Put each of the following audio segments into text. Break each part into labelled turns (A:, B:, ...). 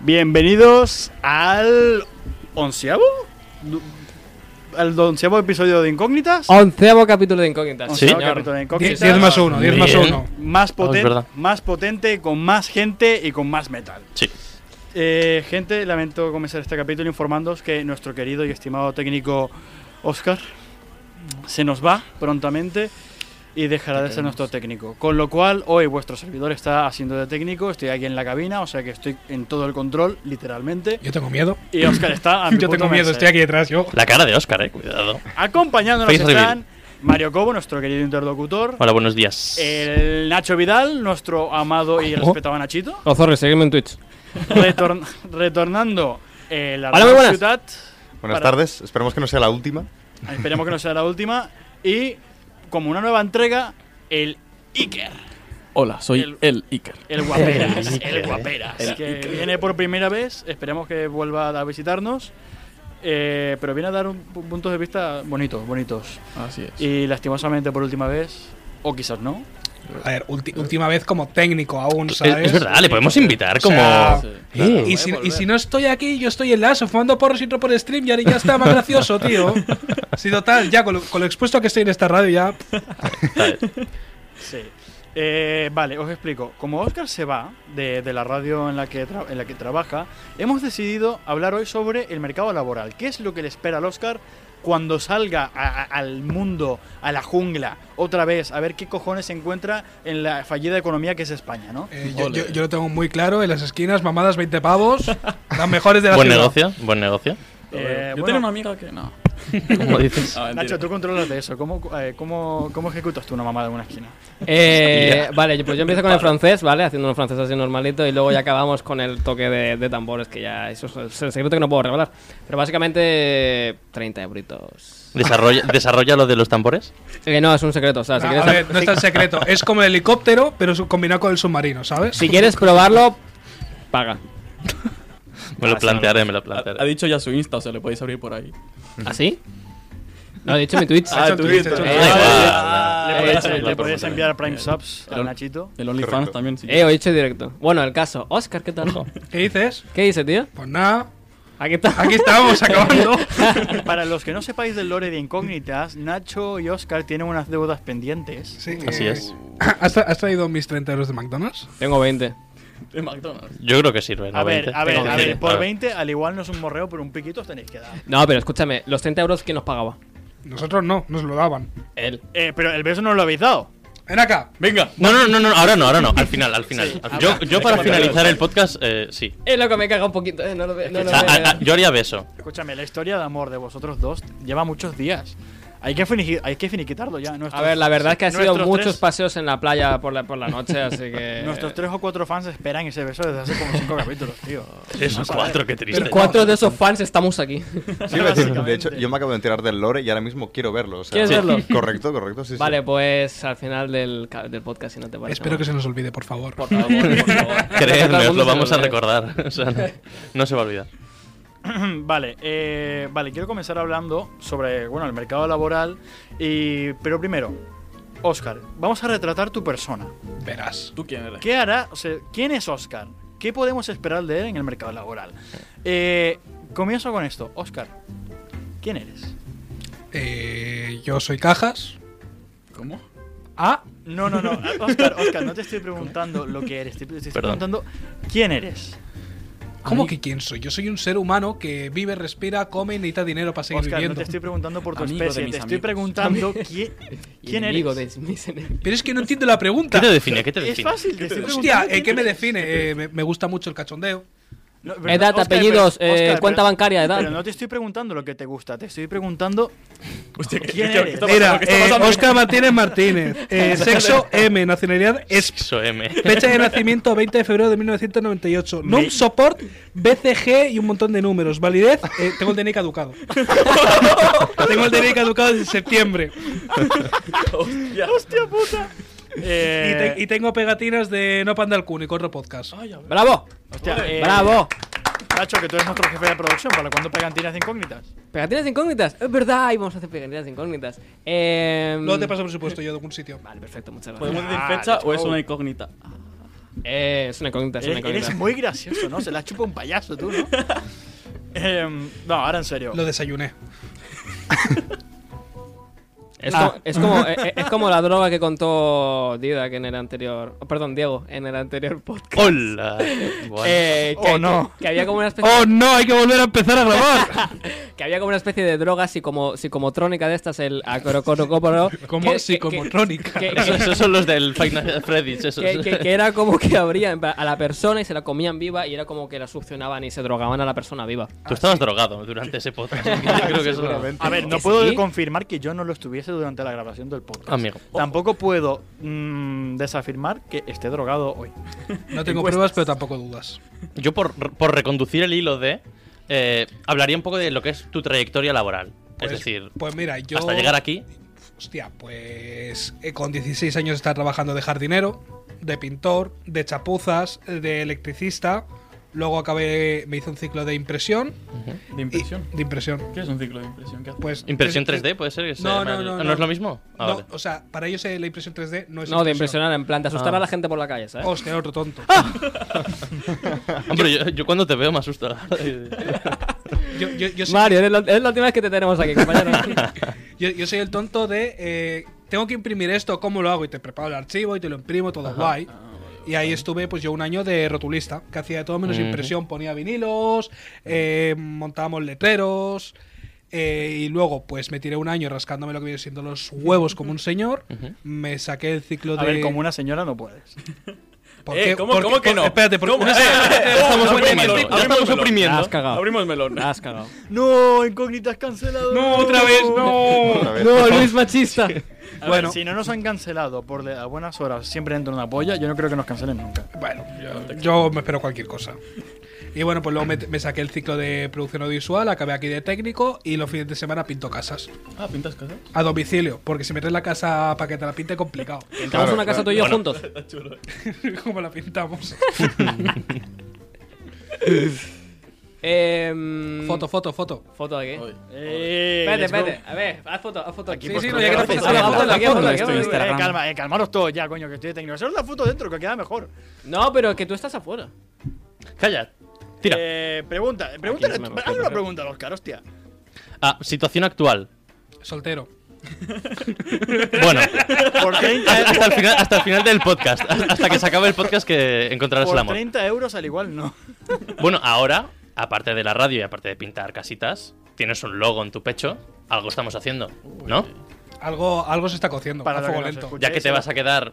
A: Bienvenidos al onceavo, Du- al onceavo episodio de Incógnitas,
B: Onceavo capítulo de Incógnitas.
A: Onceavo
B: señor.
A: capítulo de
C: Die-
A: Incógnitas.
C: 10 más 1, 10 más
D: Bien.
C: 1.
A: más
D: Ah, es
A: potente,
D: verdad.
A: más potente, con más gente y con más metal.
D: Sí.
A: Eh, gente, lamento comenzar este capítulo informándoos que nuestro querido y estimado técnico Oscar se nos va prontamente y dejará de ser nuestro técnico. Con lo cual, hoy vuestro servidor está haciendo de técnico, estoy aquí en la cabina, o sea que estoy en todo el control, literalmente.
C: Yo tengo miedo.
A: Y Oscar está a mi
C: Yo
A: puto
C: tengo miedo,
A: merced.
C: estoy aquí detrás. Yo.
D: La cara de Oscar, eh, cuidado.
A: Acompañándonos
D: Face reveal.
A: están Mario Cobo, nuestro querido interlocutor,
D: Hola, buenos días.
A: el Nacho Vidal, nuestro amado y
B: ¿Cómo?
A: respetado Nachito,
B: Ozorri, Oh, seguidme en Twitch.
A: retor- retornando eh, la
B: Hola,
A: Radio
B: muy buenas.
A: ciudad.
E: Buenas
A: para-
E: tardes, esperemos que no sea la última.
A: Esperemos que no sea la última. Y como una nueva entrega, el Iker.
F: Hola, soy
A: El-
F: el, Iker.
A: El guaperas,
D: Iker,
A: el
D: eh.
A: guaperas,
F: El
A: que
F: Iker.
A: viene por primera vez, esperemos que vuelva a visitarnos, eh, pero viene a dar un, pu- puntos de vista bonitos, bonitos.
F: Así es.
A: Y lastimosamente por última vez, o quizás no.
C: A ver, ulti- última vez como técnico aún,
D: Es-
C: ¿sabes?
D: Es verdad, le podemos invitar
C: O
D: como.
C: sea,
F: Sí.
D: Eh,
C: Y, si, y si no estoy aquí, yo estoy en la ASO fumando porros y otro por stream y ahora ya está más gracioso, tío. Sí, total, ya con lo, con lo expuesto que estoy en esta radio ya.
A: Sí. Eh, vale, os explico. Como Oscar se va de, de la radio en la, que tra- en la que trabaja, hemos decidido hablar hoy sobre el mercado laboral. ¿Qué es lo que le espera al Oscar cuando salga a- a- al mundo, a la jungla, otra vez, a ver qué cojones se encuentra en la fallida economía que es España, ¿no?
C: Eh, yo,
F: Ole.
C: yo- yo lo tengo muy claro, en las esquinas, mamadas 20 pavos, las mejores de la
D: Buen
C: ciudad.
D: negocio, buen negocio.
A: Eh,
F: Yo
A: bueno,
F: tengo una amiga que no.
D: Como dices.
F: Ah, mentira.
A: Nacho, tú controlas de eso. ¿Cómo, eh, cómo, cómo ejecutas tú una mamada en una esquina?
B: Eh, vale, pues yo empiezo con el francés, ¿vale? Haciendo un francés así normalito y luego ya acabamos con el toque de, de tambores, que ya eso es- es el secreto que no puedo revelar. Pero básicamente, 30 euritos. Eh,
D: Desarrolla, desarrolla lo de los tambores.
B: Que no, es un secreto, o sea, si
C: Ah,
B: quieres,
C: a ver, no es tan secreto. Es como el helicóptero, pero su- combinado con el submarino, ¿sabes?
B: si quieres probarlo, paga.
D: Me lo
B: Ah, sí,
D: plantearé, me lo
F: Ha, ha
D: plantearé.
F: dicho ya su Insta, o sea, le podéis abrir por ahí.
B: ¿Así? No, he dicho mi Twitch.
F: Ah,
C: hecho
F: tu
C: Twitch,
F: Insta,
C: ha hecho
F: tu
B: Twitch.
F: Insta.
D: Ah,
A: Eh, Le
D: vale,
A: podías,
D: vale.
A: le podías
D: La pregunta.
A: enviar Prime Subs
F: El
A: a
F: on-
A: Nachito.
F: El OnlyFans
E: Correcto.
F: también, sí.
B: Eh, hoy he hecho directo. Bueno, el caso. Oscar, ¿qué tal?
C: ¿Qué dices?
B: ¿Qué dice, tío?
C: Pues nada,
B: Aquí está.
C: aquí estamos acabando.
A: Para los que no sepáis del lore de incógnitas, Nacho y Oscar tienen unas deudas pendientes.
C: Sí,
D: Así
C: eh,
D: es.
C: ¿Has, tra- has traído mis 30 euros de McDonald's?
B: Tengo 20.
F: De McDonald's.
D: Yo creo que sirve. ¿no?
A: A ver,
D: 20.
A: a ver,
D: Sí,
A: a
D: sí,
A: ver, por 20 al igual no es un morreo, pero un piquito os tenéis que dar.
B: No, pero escúchame, los 30 euros, ¿quién nos pagaba?
C: Nosotros no, nos lo daban.
B: Él.
A: Eh, pero el beso no lo habéis dado.
C: Ven acá.
F: Venga.
D: No, no, no, no, ahora no, ahora no. Al final, al final. Al- yo, yo para finalizar el podcast, eh, sí.
B: Es lo que me caga un poquito, eh. No lo veo. No
D: O
B: lo
D: sea,
B: veo.
D: a- a- yo haría beso.
A: Escúchame, la historia de amor de vosotros dos lleva muchos días. Hay que, finigi- hay que finiquitarlo ya. Nuestros-
B: A ver, la verdad es que ha sido
A: nuestros
B: muchos
A: tres-
B: paseos en la playa por la, por la noche, así que.
A: Nuestros tres o cuatro fans esperan ese beso desde hace como cinco capítulos, tío.
D: Esos cuatro, qué triste.
B: Cuatro de esos fans estamos aquí.
E: Sí, iba a decir,
A: Básicamente.
E: de hecho, yo me acabo de enterar del lore y ahora mismo quiero verlo. o sea-
B: ¿Quieres
E: Sí.
B: verlo?
E: Correcto, correcto, sí, sí.
B: Vale, pues al final del, ca- del podcast, si no te parece.
C: Espero que se nos olvide, por favor.
B: Por favor, por favor.
D: Creedme, os lo vamos a
B: Todo el mundo
D: recordar. O sea, no, no se va a olvidar.
A: Mm, vale, eh, vale, quiero comenzar hablando sobre bueno, el mercado laboral. Y, pero primero, Oscar, vamos a retratar tu persona.
C: Verás.
F: ¿Tú quién eres?
A: ¿Qué hará? O sea, ¿quién es Oscar? ¿Qué podemos esperar de él en el mercado laboral? Eh, comienzo con esto. Oscar, ¿quién eres?
C: Eh, yo soy Cajas.
F: ¿Cómo?
C: Ah,
A: No, no, no. Oscar, Oscar, no te estoy preguntando lo que eres. Te, te estoy
D: Perdón.
A: preguntando quién eres.
C: ¿cómo que quién soy? Yo soy un ser humano que vive, respira, come y necesita dinero para seguir
A: Oscar, no
C: viviendo.
A: te estoy preguntando por tu
F: Amigo de
A: especie.
F: mis
A: Te estoy
F: amigos.
A: preguntando quién, quién
B: Enemigo
A: eres.
B: de mis enemigos.
C: Pero es que no entiendo la
D: ¿Qué
C: pregunta.
D: te define? ¿Qué te
A: Es
D: define?
A: fácil. Te estoy
C: Hostia,
A: preguntando
C: eh, ¿qué
A: quién
C: me
A: eres.
C: define? Eh, me, me gusta mucho el cachondeo.
A: No, pero
B: Edad,
A: no, Oscar,
B: apellidos,
A: pero-
B: eh,
A: Oscar,
B: cuenta
A: pero-
B: bancaria, edad.
A: Pero no te estoy preguntando lo que te gusta, te estoy preguntando
F: Hostia, ¿qué-
A: ¿Quién
F: qué-
A: eres?
F: qué está
C: Mira,
F: pasando? ¿Qué está
C: eh,
F: pasando?
C: Oscar Martínez Martínez. eh, sexo M, nacionalidad es.
D: Eso, M.
C: Fecha de nacimiento 20 de febrero de 1998. NUM support, BCG y un montón de números. Validez, eh, tengo el DNI caducado. tengo el DNI caducado desde septiembre.
F: Hostia.
C: Y,
A: Eh,
C: te- y tengo pegatinas de No Panda al Kun y Corro Podcast.
F: Ay, a ver.
B: ¡Bravo!
A: hostia, eh,
B: ¡Bravo!
A: Nacho, que tú eres nuestro jefe de producción, ¿para cuándo pegantinas de incógnitas?
B: Pegatinas incógnitas. Es verdad, ahí vamos a hacer pegatinas incógnitas. Eh,
C: Luego te paso presupuesto yo de algún sitio.
B: Vale, perfecto, muchas gracias.
F: ¿Podemos decir
A: Ah,
F: fecha
A: let's
F: o es
A: go.
F: una incógnita?
B: Eh, es una incógnita, es una
A: Eres,
B: incógnita.
A: eres muy gracioso, ¿no? Se la chupa un payaso tú, ¿no? Em, no, ahora en serio.
C: Lo desayuné.
B: Es,
D: Ah.
B: como, es, como, eh, eh, es como la droga que contó Dida que en el anterior. oh, perdón, Diego, en el anterior podcast.
D: Hola. Guay.
B: Eh, que,
A: Oh, no.
B: que había como una especie
C: ¡Oh no! Hay que volver a empezar a grabar.
B: que había como una especie de droga psicomo, psicomotrónica de estas el acorocorocóporo
C: Como
B: que- que- que-
C: psicomotrónica.
B: que-
D: Eh, Eso- Esos son los del Five Nights at Freddy's. Esos.
B: que, que- que era como que abrían a la persona y se la comían viva y era como que la succionaban y se drogaban a la persona viva.
D: Tú estabas drogado durante ese podcast. Yo creo que eso
E: Seguramente.
A: A ver, no
B: ¿Que
A: puedo
B: sí?
A: confirmar que yo no lo estuviese durante la grabación del podcast.
D: Amigo.
A: Tampoco puedo mm, desafirmar que esté drogado hoy.
C: No tengo pruebas, pero tampoco dudas.
D: Yo, por, por reconducir el hilo de. eh, hablaría un poco de lo que es tu trayectoria laboral.
C: Pues-
D: es decir,
C: Pues mira, yo.
D: hasta llegar aquí.
C: Hostia, pues eh, con 16 años estaba trabajando de jardinero, de pintor, de chapuzas, de electricista. Luego acabé, me hice un ciclo de impresión.
F: De
C: y-
F: impresión.
C: de impresión.
F: ¿Qué es un ciclo de impresión? ¿Qué haces?
C: Pues,
D: Impresión
C: tres-
D: 3D, puede ser. que se llame
C: No, no,
D: el-
C: no,
D: ah,
C: no.
D: es lo mismo? Ah,
C: No,
D: vale.
C: o sea, para ellos eh, la impresión 3D no es.
B: No, de impresionar en plan, de asustar a la gente por la calle, ¿sabes?
C: Hostia, otro tonto.
D: Hombre, yo, yo cuando te veo me asusta.
C: Yo, yo- yo soy,
B: Mario, eres la, eres la última vez que te tenemos aquí, compañero.
C: yo- yo soy el tonto de. eh, tengo que imprimir esto, ¿cómo lo hago? Y te preparo el archivo y te lo imprimo, todo guay.
D: Ah,
C: Y ahí estuve pues yo un año de rotulista, que hacía de todo menos
D: Ujú.
C: impresión, ponía vinilos, eh, montábamos letreros, eh, y luego pues me tiré un año rascándome lo que viene siendo los huevos como un señor,
D: Ujú.
C: me saqué el ciclo
A: A
C: de...
A: ver, como una señora no puedes.
C: ¿Por
F: Eh,
C: qué?
F: ¿cómo-
C: ¿Por
F: cómo
C: qué?
F: que no?
C: Espérate, porque
F: ¿Cómo?
C: una-
F: Eh, eh, eh,
D: estamos
F: abrimos el
D: oprimiendo,
F: melón,
D: ya
F: abrimos
D: estamos
F: el melón. Ah,
D: oprimiendo.
B: La has cagado.
F: Abrimos el melón.
B: La has cagado.
A: No, incógnitas cancelado.
C: No, otra vez, no.
E: Otra vez.
B: No, Luis machista.
A: bueno, si no nos han cancelado por de- a buenas horas siempre dentro de una polla, yo no creo que nos cancelen nunca.
C: Bueno, yo, yo me espero cualquier cosa. Y bueno, pues luego me, me saqué el ciclo de producción audiovisual, acabé aquí de técnico y los fines de semana pinto casas.
F: Ah, pintas casas.
C: A domicilio, porque si me traes la casa para que te la pinte, complicado.
B: Entramos
E: Claro,
B: una casa
E: claro.
B: tú y yo
D: Bueno.
B: juntos.
C: ¿Cómo la pintamos?
B: Eh,
C: Foto, foto, foto.
B: Foto de aquí.
F: Hoy.
A: Eh,
B: Vete,
A: let's go.
B: vete. A ver, haz foto, haz foto.
A: Aquí
C: Sí,
A: por
C: sí, no,
A: favor.
C: ya que la
B: Haz
C: foto,
B: foto,
C: la
B: haz
C: foto,
B: foto,
C: la
B: aquí,
C: foto.
B: haz foto,
F: Estoy
A: Eh,
B: aquí, haz foto.
F: Instagram.
A: calma, eh, calmaros todos ya, coño, que estoy de técnico. Eso es la foto dentro, que queda mejor.
B: No, pero que tú estás afuera.
D: Calla. Tira.
A: Eh, pregunta, pregúntale,
B: se me
A: hazle
B: ocurre.
A: una pregunta a Oscar, hostia.
D: Ah, situación actual.
C: Soltero.
D: Bueno,
A: Por 30, e-
D: hasta el final, hasta el final del podcast. Hasta que se acabe el podcast que encontrarás el
A: por
D: amor.
A: 30 euros al igual no.
D: Bueno, ahora, aparte de la radio y aparte de pintar casitas, tienes un logo en tu pecho. Algo estamos haciendo, ¿no?
C: Algo, algo se está cociendo.
A: Para
C: a
A: lo
C: fuego
A: que nos
C: lento.
A: escucha.
D: Ya que te vas a quedar,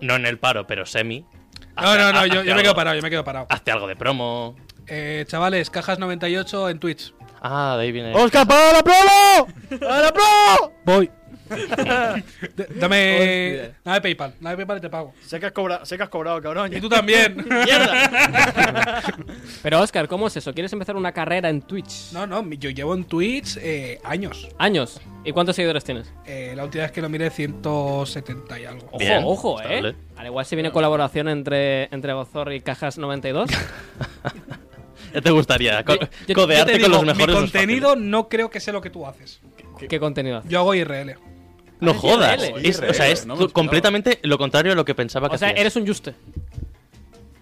D: no en el paro, pero semi.
C: No,
D: hazte-
C: no, no,
D: hazte
C: yo, yo me
D: algo-
C: quedo parado, yo me quedo parado.
D: Hazte algo de promo.
C: Eh, chavales, cajas 98 en Twitch.
D: Ah, de ahí viene.
A: ¡Oscar, para la promo! ¡Para la promo!
C: Voy. dame,
B: Hostia.
C: dame PayPal, dame PayPal y te pago.
A: Sé que has, cobra- sé que has cobrado, cabrón.
C: Y tú también.
A: ¡Mierda!
B: Pero Oscar, ¿cómo es eso? ¿Quieres empezar una carrera en Twitch?
C: No, no, yo llevo en Twitch eh, años.
B: Años. ¿Y cuántos seguidores tienes?
C: Eh, la última vez que lo miré 170 y algo.
B: Ojo,
D: Bien,
B: ojo,
D: estable.
B: eh. Al igual si viene colaboración entre, entre Gozor y Cajas 92.
D: Ya te gustaría co-
B: Yo- yo-
D: codearte
C: Yo te
D: con los
C: digo,
D: mejores.
C: Mi
D: no es fácil.
C: contenido no creo que sea lo que tú haces.
B: ¿Qué contenido hace?
C: Yo hago IRL.
D: No
B: Haces
D: jodas.
B: IRL.
D: Es- o sea, es
F: No me
D: tu-
F: esperaba.
D: completamente lo contrario a lo que pensaba que
B: O sea,
D: hacías.
B: eres un Juste.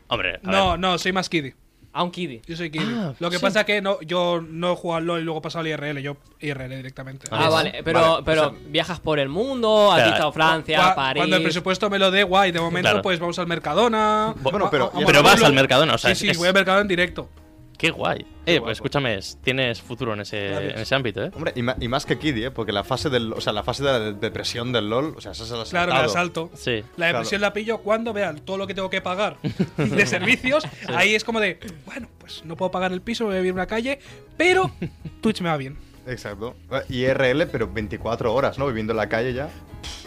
D: Hombre, a
C: No,
D: ver.
C: no, soy más kiddie.
B: A un Kiddy.
C: Yo soy kiddie.
D: Ah,
C: lo que
D: sí.
C: pasa que no, yo no he jugado al LoL y luego he pasado al IRL. Yo IRL directamente.
B: Ah,
D: Ah,
B: vale. Pero,
E: vale,
B: pero viajas por el mundo, has
D: Claro.
B: visitado Francia,
C: Cua-
B: París.
C: Cuando el presupuesto me lo dé, guay. De momento,
D: Claro.
C: pues vamos al Mercadona.
E: Bueno,
C: va-
E: pero-
C: vamos
E: pero
C: al
D: vas
C: pueblo.
D: al Mercadona, o sea,
C: Sí,
D: es-
C: sí,
D: es-
C: voy al Mercadona en directo.
D: Qué guay. eh, pues escúchame, es- tienes futuro en ese, en ese ámbito, ¿eh?
E: Hombre, y, ma- y más que Kiddy, ¿eh? porque la fase del, o sea, la fase de la de- depresión del LOL, o sea, esa es la
C: Claro, me la salto.
D: Sí.
C: La depresión la pillo cuando vean todo lo que tengo que pagar de servicios. Ahí es como de, bueno, pues no puedo pagar el piso, voy a vivir en una calle, pero Twitch me va bien.
E: Exacto. Eh, IRL, pero 24 horas, ¿no? Viviendo en la calle ya.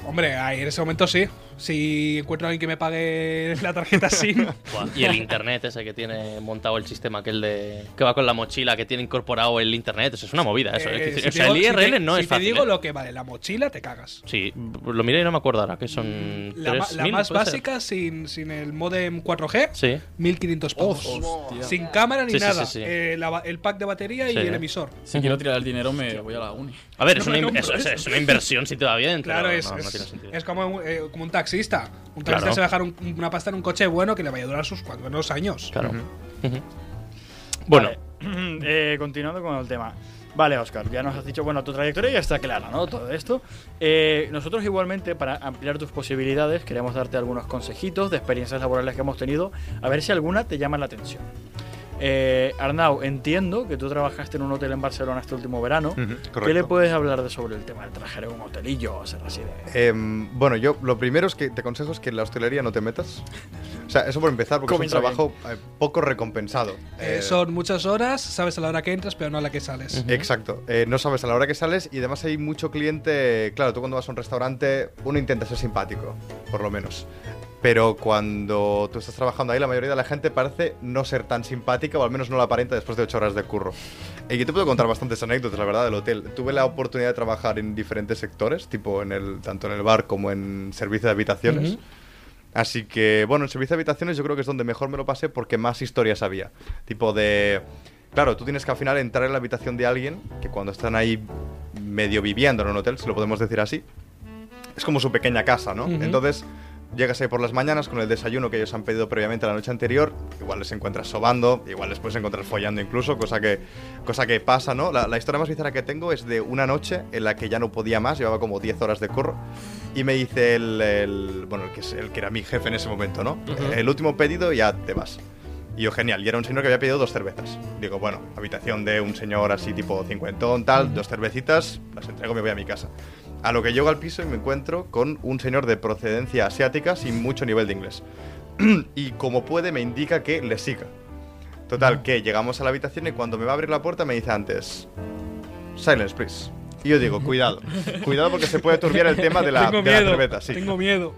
C: Hombre, ahí en ese momento sí. Si encuentro a alguien que me pague la tarjeta SIM,
D: Buah, Y el internet ese que tiene montado el sistema aquel de que va con la mochila que tiene incorporado el internet, eso es una movida eso.
C: eh,
D: es decir,
C: si
D: o sea,
C: te digo-
D: el
C: si
D: IRL
C: te-
D: no
C: si
D: es fácil.
C: te digo
D: ¿eh?
C: lo que vale la mochila, te cagas.
D: Sí, lo miré y no me acuerdo ahora que son
C: La, ma- la
D: 3.000, Mm,
C: más
D: ¿puede ser?
C: básica sin, sin el modem 4G,
D: Sí.
C: 1500 pavos.
A: Hostia.
C: sin cámara ni
D: Sí, sí,
C: nada.
D: sí, sí.
C: Eh, la ba- el pack de batería y
D: Sí.
C: el emisor.
F: Si quiero tirar el dinero, me voy a la uni.
D: A ver, es,
C: No
D: una,
C: me
D: in-
C: compro
D: es-
C: eso.
D: es una inversión si te va bien,
C: Claro,
D: pero
C: es,
D: no, no
C: es-
D: tiene sentido.
C: es como, un, eh, como un taxista. Un taxista
D: Claro.
C: se va a dejar un- una pasta en un coche bueno que le vaya a durar sus cuatro menos años.
D: Claro. Ujú. Bueno,
A: Eh, continuando con el tema. Vale, Oscar, ya nos has dicho, bueno, tu trayectoria ya está clara, ¿no? Todo esto. Eh, nosotros igualmente, para ampliar tus posibilidades, queremos darte algunos consejitos de experiencias laborales que hemos tenido, a ver si alguna te llama la atención. Eh, Arnau, entiendo que tú trabajaste en un hotel en Barcelona este último verano.
E: Ujú,
A: ¿Qué le
E: Mm, correcto.
A: puedes hablar de sobre el tema del trajer en un hotelillo o ser así de...
E: Em, bueno, yo lo primero es que te aconsejo es que en la hostelería no te metas. O sea, eso por empezar, porque
A: Comienza
E: es un trabajo eh, poco recompensado.
C: Eh,
E: Eh,
C: son muchas horas, sabes a la hora que entras, pero no a la que sales.
E: Exacto, Eh, no sabes a la hora que sales y además hay mucho cliente, claro, tú cuando vas a un restaurante uno intenta ser simpático, por lo menos, pero cuando tú estás trabajando ahí la mayoría de la gente parece no ser tan simpática o al menos no la aparenta después de ocho horas de curro. Y yo te puedo contar bastantes anécdotas, la verdad, del hotel. Tuve la oportunidad de trabajar en diferentes sectores, tipo en el, tanto en el bar como en servicio de habitaciones. Así que, bueno, en servicio de habitaciones yo creo que es donde mejor me lo pasé porque más historias había. Tipo de... Claro, tú tienes que al final entrar en la habitación de alguien que cuando están ahí medio viviendo en un hotel, si lo podemos decir así, es como su pequeña casa, ¿no?
C: Ujú.
E: Entonces, llegas ahí por las mañanas con el desayuno que ellos han pedido previamente la noche anterior, igual les encuentras sobando, igual les puedes encontrar follando incluso, cosa que, cosa que pasa, ¿no? La, la historia más bizarra que tengo es de una noche en la que ya no podía más, llevaba como 10 horas de curro, y me dice el, el- bueno, el que, es- el que era mi jefe en ese momento, ¿no? El último pedido ya te vas. Y yo, genial, y era un señor que había pedido dos cervezas. Digo, bueno, habitación de un señor así tipo cincuentón, tal, dos cervecitas, las entrego y me voy a mi casa. A lo que llego al piso y me encuentro con un señor de procedencia asiática sin mucho nivel de inglés. y como puede me indica que le siga. Total, que llegamos a la habitación y cuando me va a abrir la puerta me dice antes, silence, please. Y yo digo, cuidado, cuidado porque se puede turbiar el tema de la,
C: tengo
E: de la
C: miedo,
E: cerveza. Sí.
C: tengo miedo.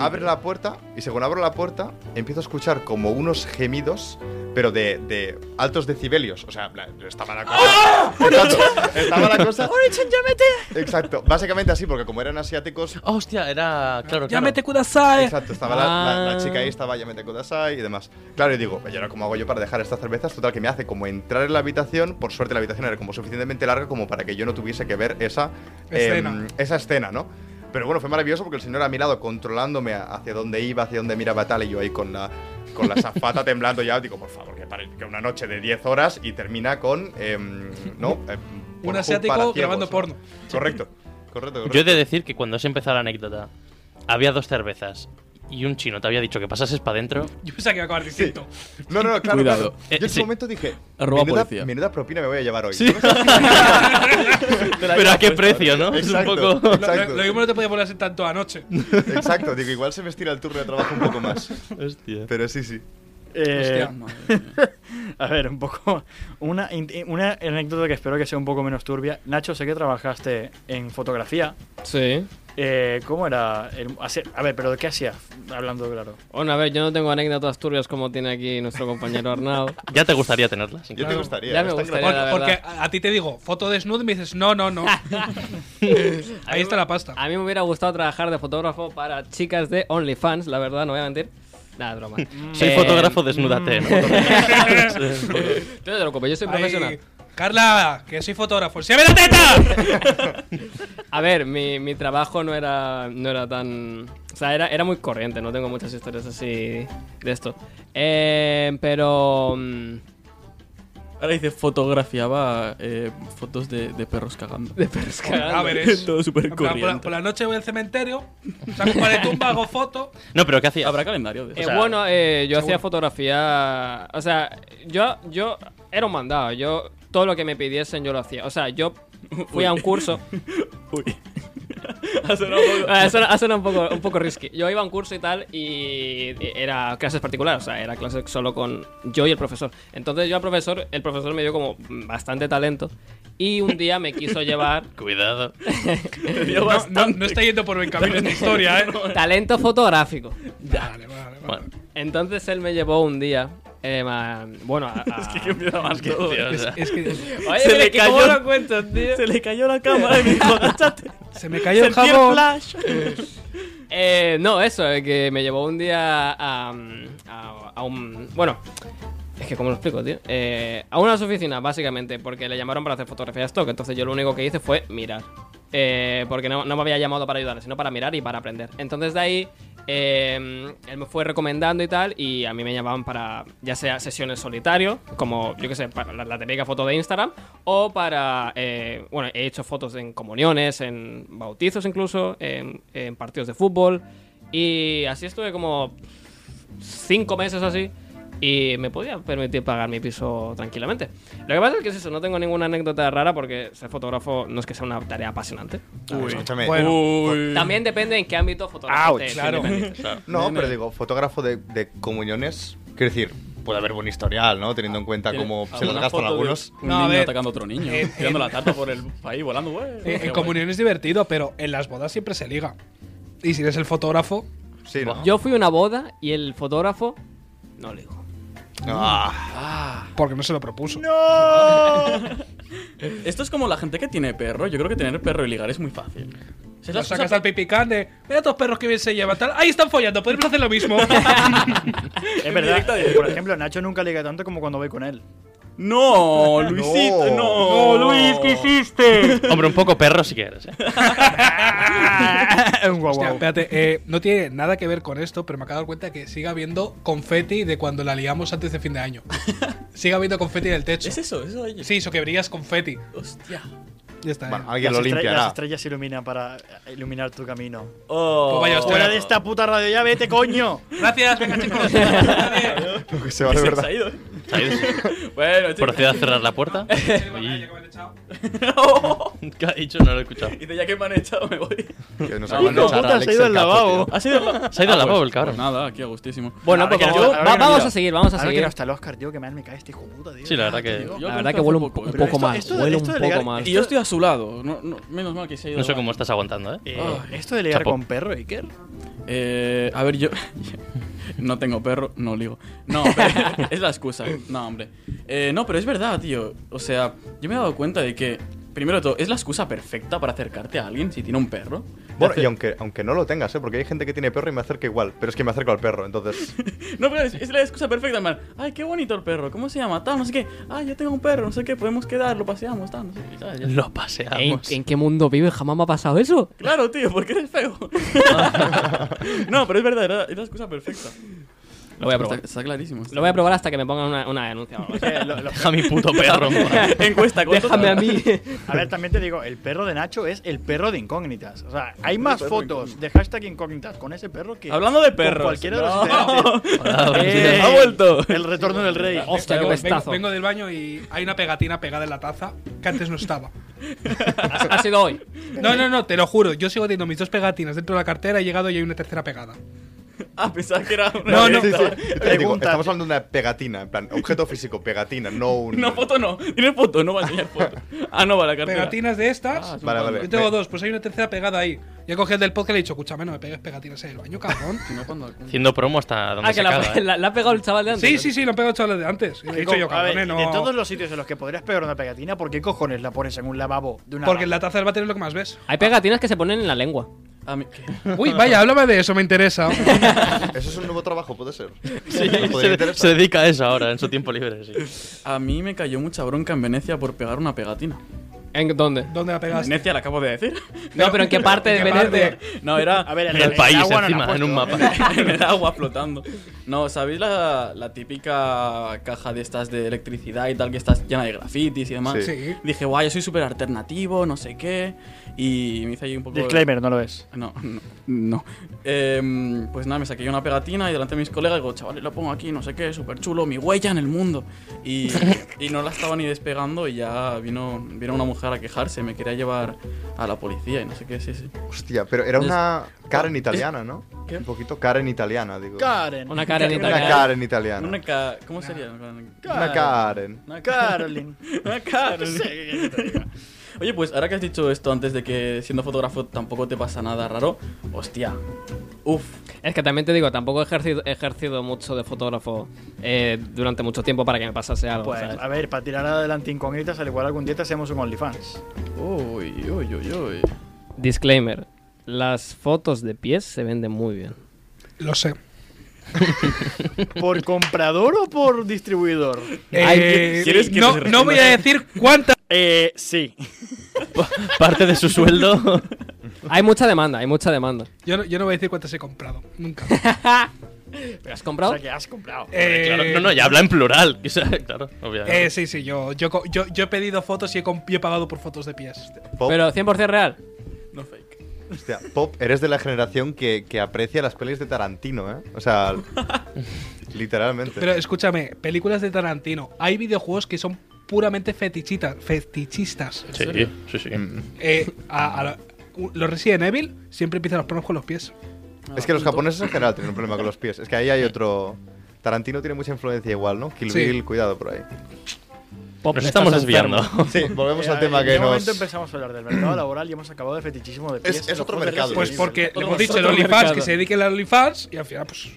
E: Abre la puerta y según abro la puerta empiezo a escuchar como unos gemidos, pero de, de altos decibelios. O sea, en plan, estaba la cosa.
C: ¡Ah!
E: Exacto, estaba la cosa. Exacto, básicamente así, porque como eran asiáticos.
D: Ah, hostia, era claro, claro.
C: Llámete Kudasai.
E: Exacto, estaba la, la- la chica ahí, estaba Yamete Kudasai y demás. Claro, y digo, ¿y ahora cómo hago yo para dejar estas cervezas? Total, que me hace como entrar en la habitación. Por suerte, la habitación era como suficientemente larga como para que yo no tuviese que ver esa
C: Escena.
E: em, esa escena, ¿no? Pero bueno, fue maravilloso porque el señor a mi lado controlándome a- hacia dónde iba, hacia dónde miraba tal, y yo ahí con la con la zafata temblando ya, digo, por favor, que, pare- que una noche de 10 horas y termina con, em, ¿no? Em,
C: Un
E: Pornhub
C: asiático
E: para ciegos,
C: grabando
E: ¿no?
C: porno.
E: Correcto, correcto, correcto.
D: Yo he de decir que cuando has empezado la anécdota, había dos cervezas y un chino te había dicho que pasases para adentro.
C: Yo pensaba que iba a acabar distinto.
E: No, no, no, claro,
F: Cuidado.
E: claro.
D: Eh,
E: Yo en ese
D: sí.
E: momento dije,
F: Arroba
E: menuda,
F: policía.
E: menuda propina me voy a llevar hoy.
D: Pero a qué precio, ¿no? Es un
E: Exacto,
D: poco.
C: Lo, lo-
E: exacto,
C: lo mismo no te podía poner así tanto anoche.
E: exacto. Digo, igual se me estira el turno de trabajo un poco más.
D: Hostia.
E: Pero sí, sí.
A: Eh,
C: Hostia.
A: a ver, un poco. Una, in- una anécdota que espero que sea un poco menos turbia. Nacho, sé que trabajaste en fotografía.
B: Sí.
A: Eh, ¿Cómo era? el- hace- a ver, pero ¿qué hacías? Hablando claro.
B: Bueno, a ver, yo no tengo anécdotas turbias como tiene aquí nuestro compañero Arnau.
D: Ya te gustaría tenerlas.
E: Yo te gustaría.
B: ya me
E: está
B: gustaría,
E: grabado.
B: la
C: Porque
B: verdad.
C: a, a ti te digo, foto desnudo y me dices, no, no, no. ahí está la pasta.
B: A mí me hubiera gustado trabajar de fotógrafo para chicas de OnlyFans, la verdad, no voy a mentir. Nada, es broma.
D: Soy
B: Eh,
D: fotógrafo, desnúdate. ¿no?
B: No te preocupes, yo soy
C: Ahí-
B: profesional.
C: Carla, que soy fotógrafo. ¡Se ve la teta!
B: A ver, mi, mi trabajo no era, no era tan... O sea, era, era muy corriente, no tengo muchas historias así de esto. Eh, pero... mm,
F: Ahora dice, fotografiaba eh, fotos de, de perros cagando.
B: De perros cagando.
C: A ver, es.
F: Todo súper
C: En plan, por, la, por
F: corriente.
C: la noche voy al cementerio, saco un par de tumba, hago foto.
D: No, pero ¿qué hacías?
F: Habrá calendario de
B: Eh,
F: eso.
D: sea,
B: bueno, eh, yo hacía
C: seguro.
B: fotografía. O sea, yo, yo era un mandado. Yo, todo lo que me pidiesen, yo lo hacía. O sea, yo fui a un curso.
F: Uy. ha sonado un poco-
B: Ah, suena, ah, suena un poco, un poco risky. Yo iba a un curso y tal y era clases particulares, o sea, era clases solo con yo y el profesor. Entonces yo al profesor, el profesor me dio como bastante talento y un día me quiso llevar
D: Cuidado.
F: Te
C: No,
F: dio
C: no-
F: bastante.
C: no está yendo por buen camino esta historia, ¿eh?
B: talento fotográfico.
C: Vale, vale, vale.
D: Bueno,
B: Entonces él me llevó un día, eh, ma- bueno, a- a-
F: Es que empieza mal
D: es que,
F: todo.
D: tío, o
C: Es,
D: sea,
C: es que
B: Oye,
F: Se
B: pero
F: le
B: es que ¿cómo
F: cayó-
B: lo cuentas, tío?
F: Se le cayó la cámara y me dijo, "Agáchate".
C: se me cayó el
F: Sentí el
C: jabón.
F: flash.
B: Eh, no, eso, eh, que me llevó un día a, a- a un... Bueno, es que cómo lo explico, tío. Eh, a unas oficinas, básicamente, porque le llamaron para hacer fotografía de stock. Entonces yo lo único que hice fue mirar. Eh, porque no, no me había llamado para ayudar, sino para mirar y para aprender. Entonces de ahí, eh, él me fue recomendando y tal, y a mí me llamaban para, ya sea sesiones solitario, como, yo qué sé, para la, la típica foto de Instagram, o para, eh, bueno, he hecho fotos en comuniones, en bautizos incluso, en, en partidos de fútbol, y así estuve como cinco meses o así y me podía permitir pagar mi piso tranquilamente. Lo que pasa es que es eso, no tengo ninguna anécdota rara porque ser fotógrafo no es que sea una tarea apasionante.
E: Uy, escúchame.
C: Bueno.
F: Uh. Uy.
B: También depende en qué ámbito fotógrafo
E: Ouch.
B: te- te
C: Claro.
B: independices.
E: No, pero digo, fotógrafo de, de comuniones, quiero decir, puede haber buen historial, ¿no? Teniendo en cuenta cómo se los
F: Alguna
E: gastan
F: foto de
E: algunos.
F: Un
C: No, a
F: niño
C: ver.
F: atacando a otro niño.
C: Eh,
F: tirando
C: eh.
F: la tarta por el país volando, güey.
C: Eh,
F: Qué
C: en
F: guay.
C: comunión es divertido, pero en las bodas siempre se liga. Y si eres el fotógrafo,
E: Sí, ¿no?
B: Yo fui a una boda y el fotógrafo no le dijo.
E: Ah,
C: porque no se lo propuso.
F: Esto es como la gente que tiene perro. Yo creo que tener perro y ligar es muy fácil. Si es
C: Lo
F: las
C: sacas
F: cosas-
C: al pipicán de, mira estos perros que bien se llevan, tal. Ahí están follando, podemos hacer lo mismo.
A: Es
F: directo,
A: verdad. eh,
F: directo.
A: Por ejemplo, Nacho nunca liga tanto como cuando voy con él.
F: No, Luisito, no.
D: hiciste? Hombre, un poco perro si quieres. ¿eh?
A: un
F: Oh,
A: guau
C: Hostia,
A: guau.
C: espérate, eh, no tiene nada que ver con esto, pero me acabo de dar cuenta que sigue habiendo confeti de cuando la liamos antes de fin de año. sigue habiendo confeti en el techo.
F: ¿Es eso? ¿Eso oye?
C: Sí, eso que brillas confeti.
F: Hostia.
C: Ya está.
E: bueno,
C: eh.
E: alguien
A: las,
E: lo
A: estre-
E: limpiará.
A: las estrellas iluminan para eh, iluminar tu camino.
F: Oh.
C: Pues vaya
A: Fuera
C: Hostia.
A: de esta puta radio, ya vete, coño.
C: Gracias, venga chicos. Adiós.
E: Lo que se va de
F: Oh, Se- se
E: verdad.
F: ha ido. ¿eh?
D: Se ha ido.
F: Bueno, chicos.
D: Proceda a cerrar la puerta. Y- ¿Qué ha dicho? No lo he escuchado.
F: Dice, ya que me han echado, me voy.
E: Que nos
F: No,
E: acaban de
F: no,
E: echar
A: puta,
E: a Alex
A: se ha ido
E: el
A: al
E: cazo,
A: lavabo.
E: tío.
F: ¿Ha sido la...
D: Se ha ido al lavabo el cabrón.
F: pues, nada, aquí a gustísimo.
B: Bueno,
A: Ahora
B: pues
A: que
B: vamos,
A: no- ahora
B: va-
A: que no
B: vamos
A: diga.
B: a seguir, vamos a
A: Ahora que
B: seguir.
A: no está el Oscar, tío, que mal me cae este hijo puta, tío.
D: Sí, la verdad que.
F: Yo
B: La
F: creo
B: verdad que
F: hace
B: huele un,
F: poco,
B: un
F: pero
B: poco
A: esto-
B: mal,
A: esto de
B: huele un
A: legal-
B: poco mal.
F: Y yo estoy a su lado. No, no, menos mal que se ha ido.
D: No sé
F: la-
D: cómo estás aguantando, ¿eh?
A: Eh,
F: Ay.
A: esto de ligar
D: Chapo.
A: con perro, Iker.
F: Eh, a ver, yo no tengo perro, no ligo. No, pero es la excusa. No, hombre. Eh, no, pero es verdad, tío. O sea, yo me he dado cuenta de que, primero de todo, es la excusa perfecta para acercarte a alguien si tiene un perro. Te
E: Bueno,
F: hace-
E: y aunque, aunque no lo tengas, ¿eh? porque hay gente que tiene perro y me acerca igual, pero es que me acerco al perro, entonces.
F: No, pero es, es la excusa perfecta, man. Ay, qué bonito el perro. ¿Cómo se llama? Tal, no sé qué. Ay, yo tengo un perro, no sé qué. Podemos quedar, lo paseamos, tal, no sé qué. ¿sabes?
D: Lo
B: ¿En,
D: paseamos.
B: ¿En qué mundo vive? Jamás me ha pasado eso.
F: Claro, tío, porque eres feo. no, pero es verdad, era- es la excusa perfecta.
B: Lo voy a
F: Está,
B: probar.
F: está clarísimo.
B: Lo voy a probar hasta que me pongan una, una denuncia. o algo así.
A: Eh, lo- lo-
D: Deja a mi puto perro. en paz.
F: Encuesta, ¿cuántos-
B: Déjame a mí.
A: a ver, también te digo, el perro de Nacho es el perro de incógnitas. O sea, hay más fotos de hashtag incógnitas con ese perro que.
F: Hablando de
A: con
F: perros.
A: cualquiera de los
F: no.
A: integrantes.
D: Hola, buenos
A: Eh,
D: días.
F: Ha vuelto.
A: El retorno del rey.
C: Oh,
B: Hostia, qué
C: Vengo-
B: pestazo.
C: vengo del baño y hay una pegatina pegada en la taza que antes no estaba.
B: Ha ha sido hoy.
C: No, no, no, te lo juro. Yo sigo teniendo mis dos pegatinas dentro de la cartera. He llegado y hay una tercera pegada.
F: Ah, pensaba que era una
C: No, no.
E: Sí, sí.
F: fiesta.
E: Te digo,
A: Pregunta.
E: estamos hablando de una pegatina, en plan, objeto físico, pegatina, no un.
F: No, foto no. Tiene foto, no va a enseñar foto. Ah, no, va la cartera.
C: Pegatinas de estas.
F: Ah, es un
E: Vale,
F: pan.
E: vale.
C: Yo tengo
E: Ve-
C: dos, pues hay una tercera pegada ahí. Yo he cogido el del podcast y le he dicho, escúchame, no me pegues pegatinas en el baño, cabrón.
F: Si no, cuando-
D: Haciendo promo hasta donde
B: Ah,
D: se
B: que la,
D: caga, ¿eh?
B: la- la ha pegado el chaval de antes.
C: sí, sí, sí, lo han pegado chavales de antes. Y le he dicho yo,
A: A ver,
C: cabrones, no.
A: De todos los sitios en los que podrías pegar una pegatina, ¿por qué cojones la pones en un lavabo de una
C: Porque en
A: barra?
C: la taza del váter es lo que más ves.
B: Hay pegatinas que se ponen en la lengua.
F: Ah, mi- ¿qué?
C: Uy, vaya, háblame de eso, me interesa.
E: Eso es un nuevo trabajo, puede ser.
D: Sí,
E: Podría
D: se,
E: interesar.
D: se dedica a eso ahora, en su tiempo libre. Sí.
F: A mí me cayó mucha bronca en Venecia por pegar una pegatina.
B: ¿En dónde?
C: ¿Dónde la
A: Ah,
C: pegaste?
F: Venecia, la acabo de decir.
B: No, pero ¿en qué parte de
C: ¿en qué parte?
B: Venecia?
F: No, era
A: A ver,
D: En el país,
A: agua no la
D: encima,
A: ha
D: en un
A: puesto.
D: mapa.
F: en el agua flotando. No, ¿sabéis la, la típica caja de estas de electricidad y tal que está llena de grafitis y demás?
E: Sí.
C: Sí.
F: Dije, guay, yo soy súper alternativo, no sé qué. Y me hice ahí un poco...
A: ¿eh? Disclaimer, no lo es.
F: No, no. no. Em, pues nada, me saqué yo una pegatina y delante de mis colegas digo, chavales, lo pongo aquí, no sé qué, súper chulo, mi huella en el mundo. Y Y no la estaba ni despegando y ya vino, vino una mujer a quejarse, me quería llevar a la policía y no sé qué, sí, sí.
E: Hostia, pero era
F: Es-
E: una Karen
F: es-
E: italiana, ¿no? Un poquito Karen italiana, digo.
A: Karen.
B: Una Karen
E: Una
B: italiana.
E: Karen italiana.
F: Una ca- ¿Cómo sería?
E: Una Karen.
F: Una ca-
A: Carolyn.
F: Una cara.
A: Sí, que te diga.
F: Oye, pues ahora que has dicho esto antes de que siendo fotógrafo tampoco te pasa nada raro, hostia. Uf,
B: Es que también te digo, tampoco he ejercido, he ejercido mucho de fotógrafo eh, durante mucho tiempo para que me pasase algo.
A: Pues,
C: ah.
B: ¿sabes?
A: a ver, para tirar adelante incógnitas, al igual algún día te hacemos un OnlyFans.
F: uy, uy, uy, uy.
B: Disclaimer: las fotos de pies se venden muy bien.
C: Lo sé.
A: ¿Por comprador o por distribuidor?
B: Ay,
C: Eh,
F: ¿quieres que
C: no,
F: te
C: no voy a decir cuántas.
A: Eh, sí.
D: Parte de su sueldo.
B: Hay mucha demanda, hay mucha demanda.
C: Yo no, yo no voy a decir cuántas he comprado. Nunca.
B: ¿Has
A: O
B: comprado?
A: sea, que has comprado.
C: Eh,
D: Claro, no, no, ya habla en plural. O sea, claro, obviamente.
C: eh, sí, sí, yo, yo, co- yo, yo he pedido fotos y he, comp- y he pagado por fotos de pies.
E: Pop,
B: Pero 100% real.
F: No fake.
E: hostia, Pop, eres de la generación que, que aprecia las pelis de Tarantino, ¿eh? O sea, literalmente.
C: Pero escúchame, películas de Tarantino. Hay videojuegos que son puramente fetichitas, fetichistas.
D: Sí, sí, sí.
E: Mm.
C: Eh, a- a la- u- los Resident Evil siempre empiezan los planos con los pies.
E: es que los japoneses en general tienen un problema con los pies. Es que ahí hay otro... Tarantino tiene mucha influencia igual, ¿no? Kill
C: Sí.
E: Bill, cuidado por ahí.
B: Pop,
D: Nos
B: estás
D: estamos
B: enfermo.
D: desviando.
E: Sí, volvemos
A: Eh,
E: al tema
A: en
E: que
A: qué momento
E: nos...
A: empezamos a hablar del mercado laboral y hemos acabado de fetichismo de pies.
E: es
A: Los
E: otro
A: juegos de
E: mercado.
A: Resident
C: Pues
A: Evil.
C: porque le
F: Otro
C: hemos dicho el
F: mercado.
C: OnlyFans que se dediquen al OnlyFans y al final, pues.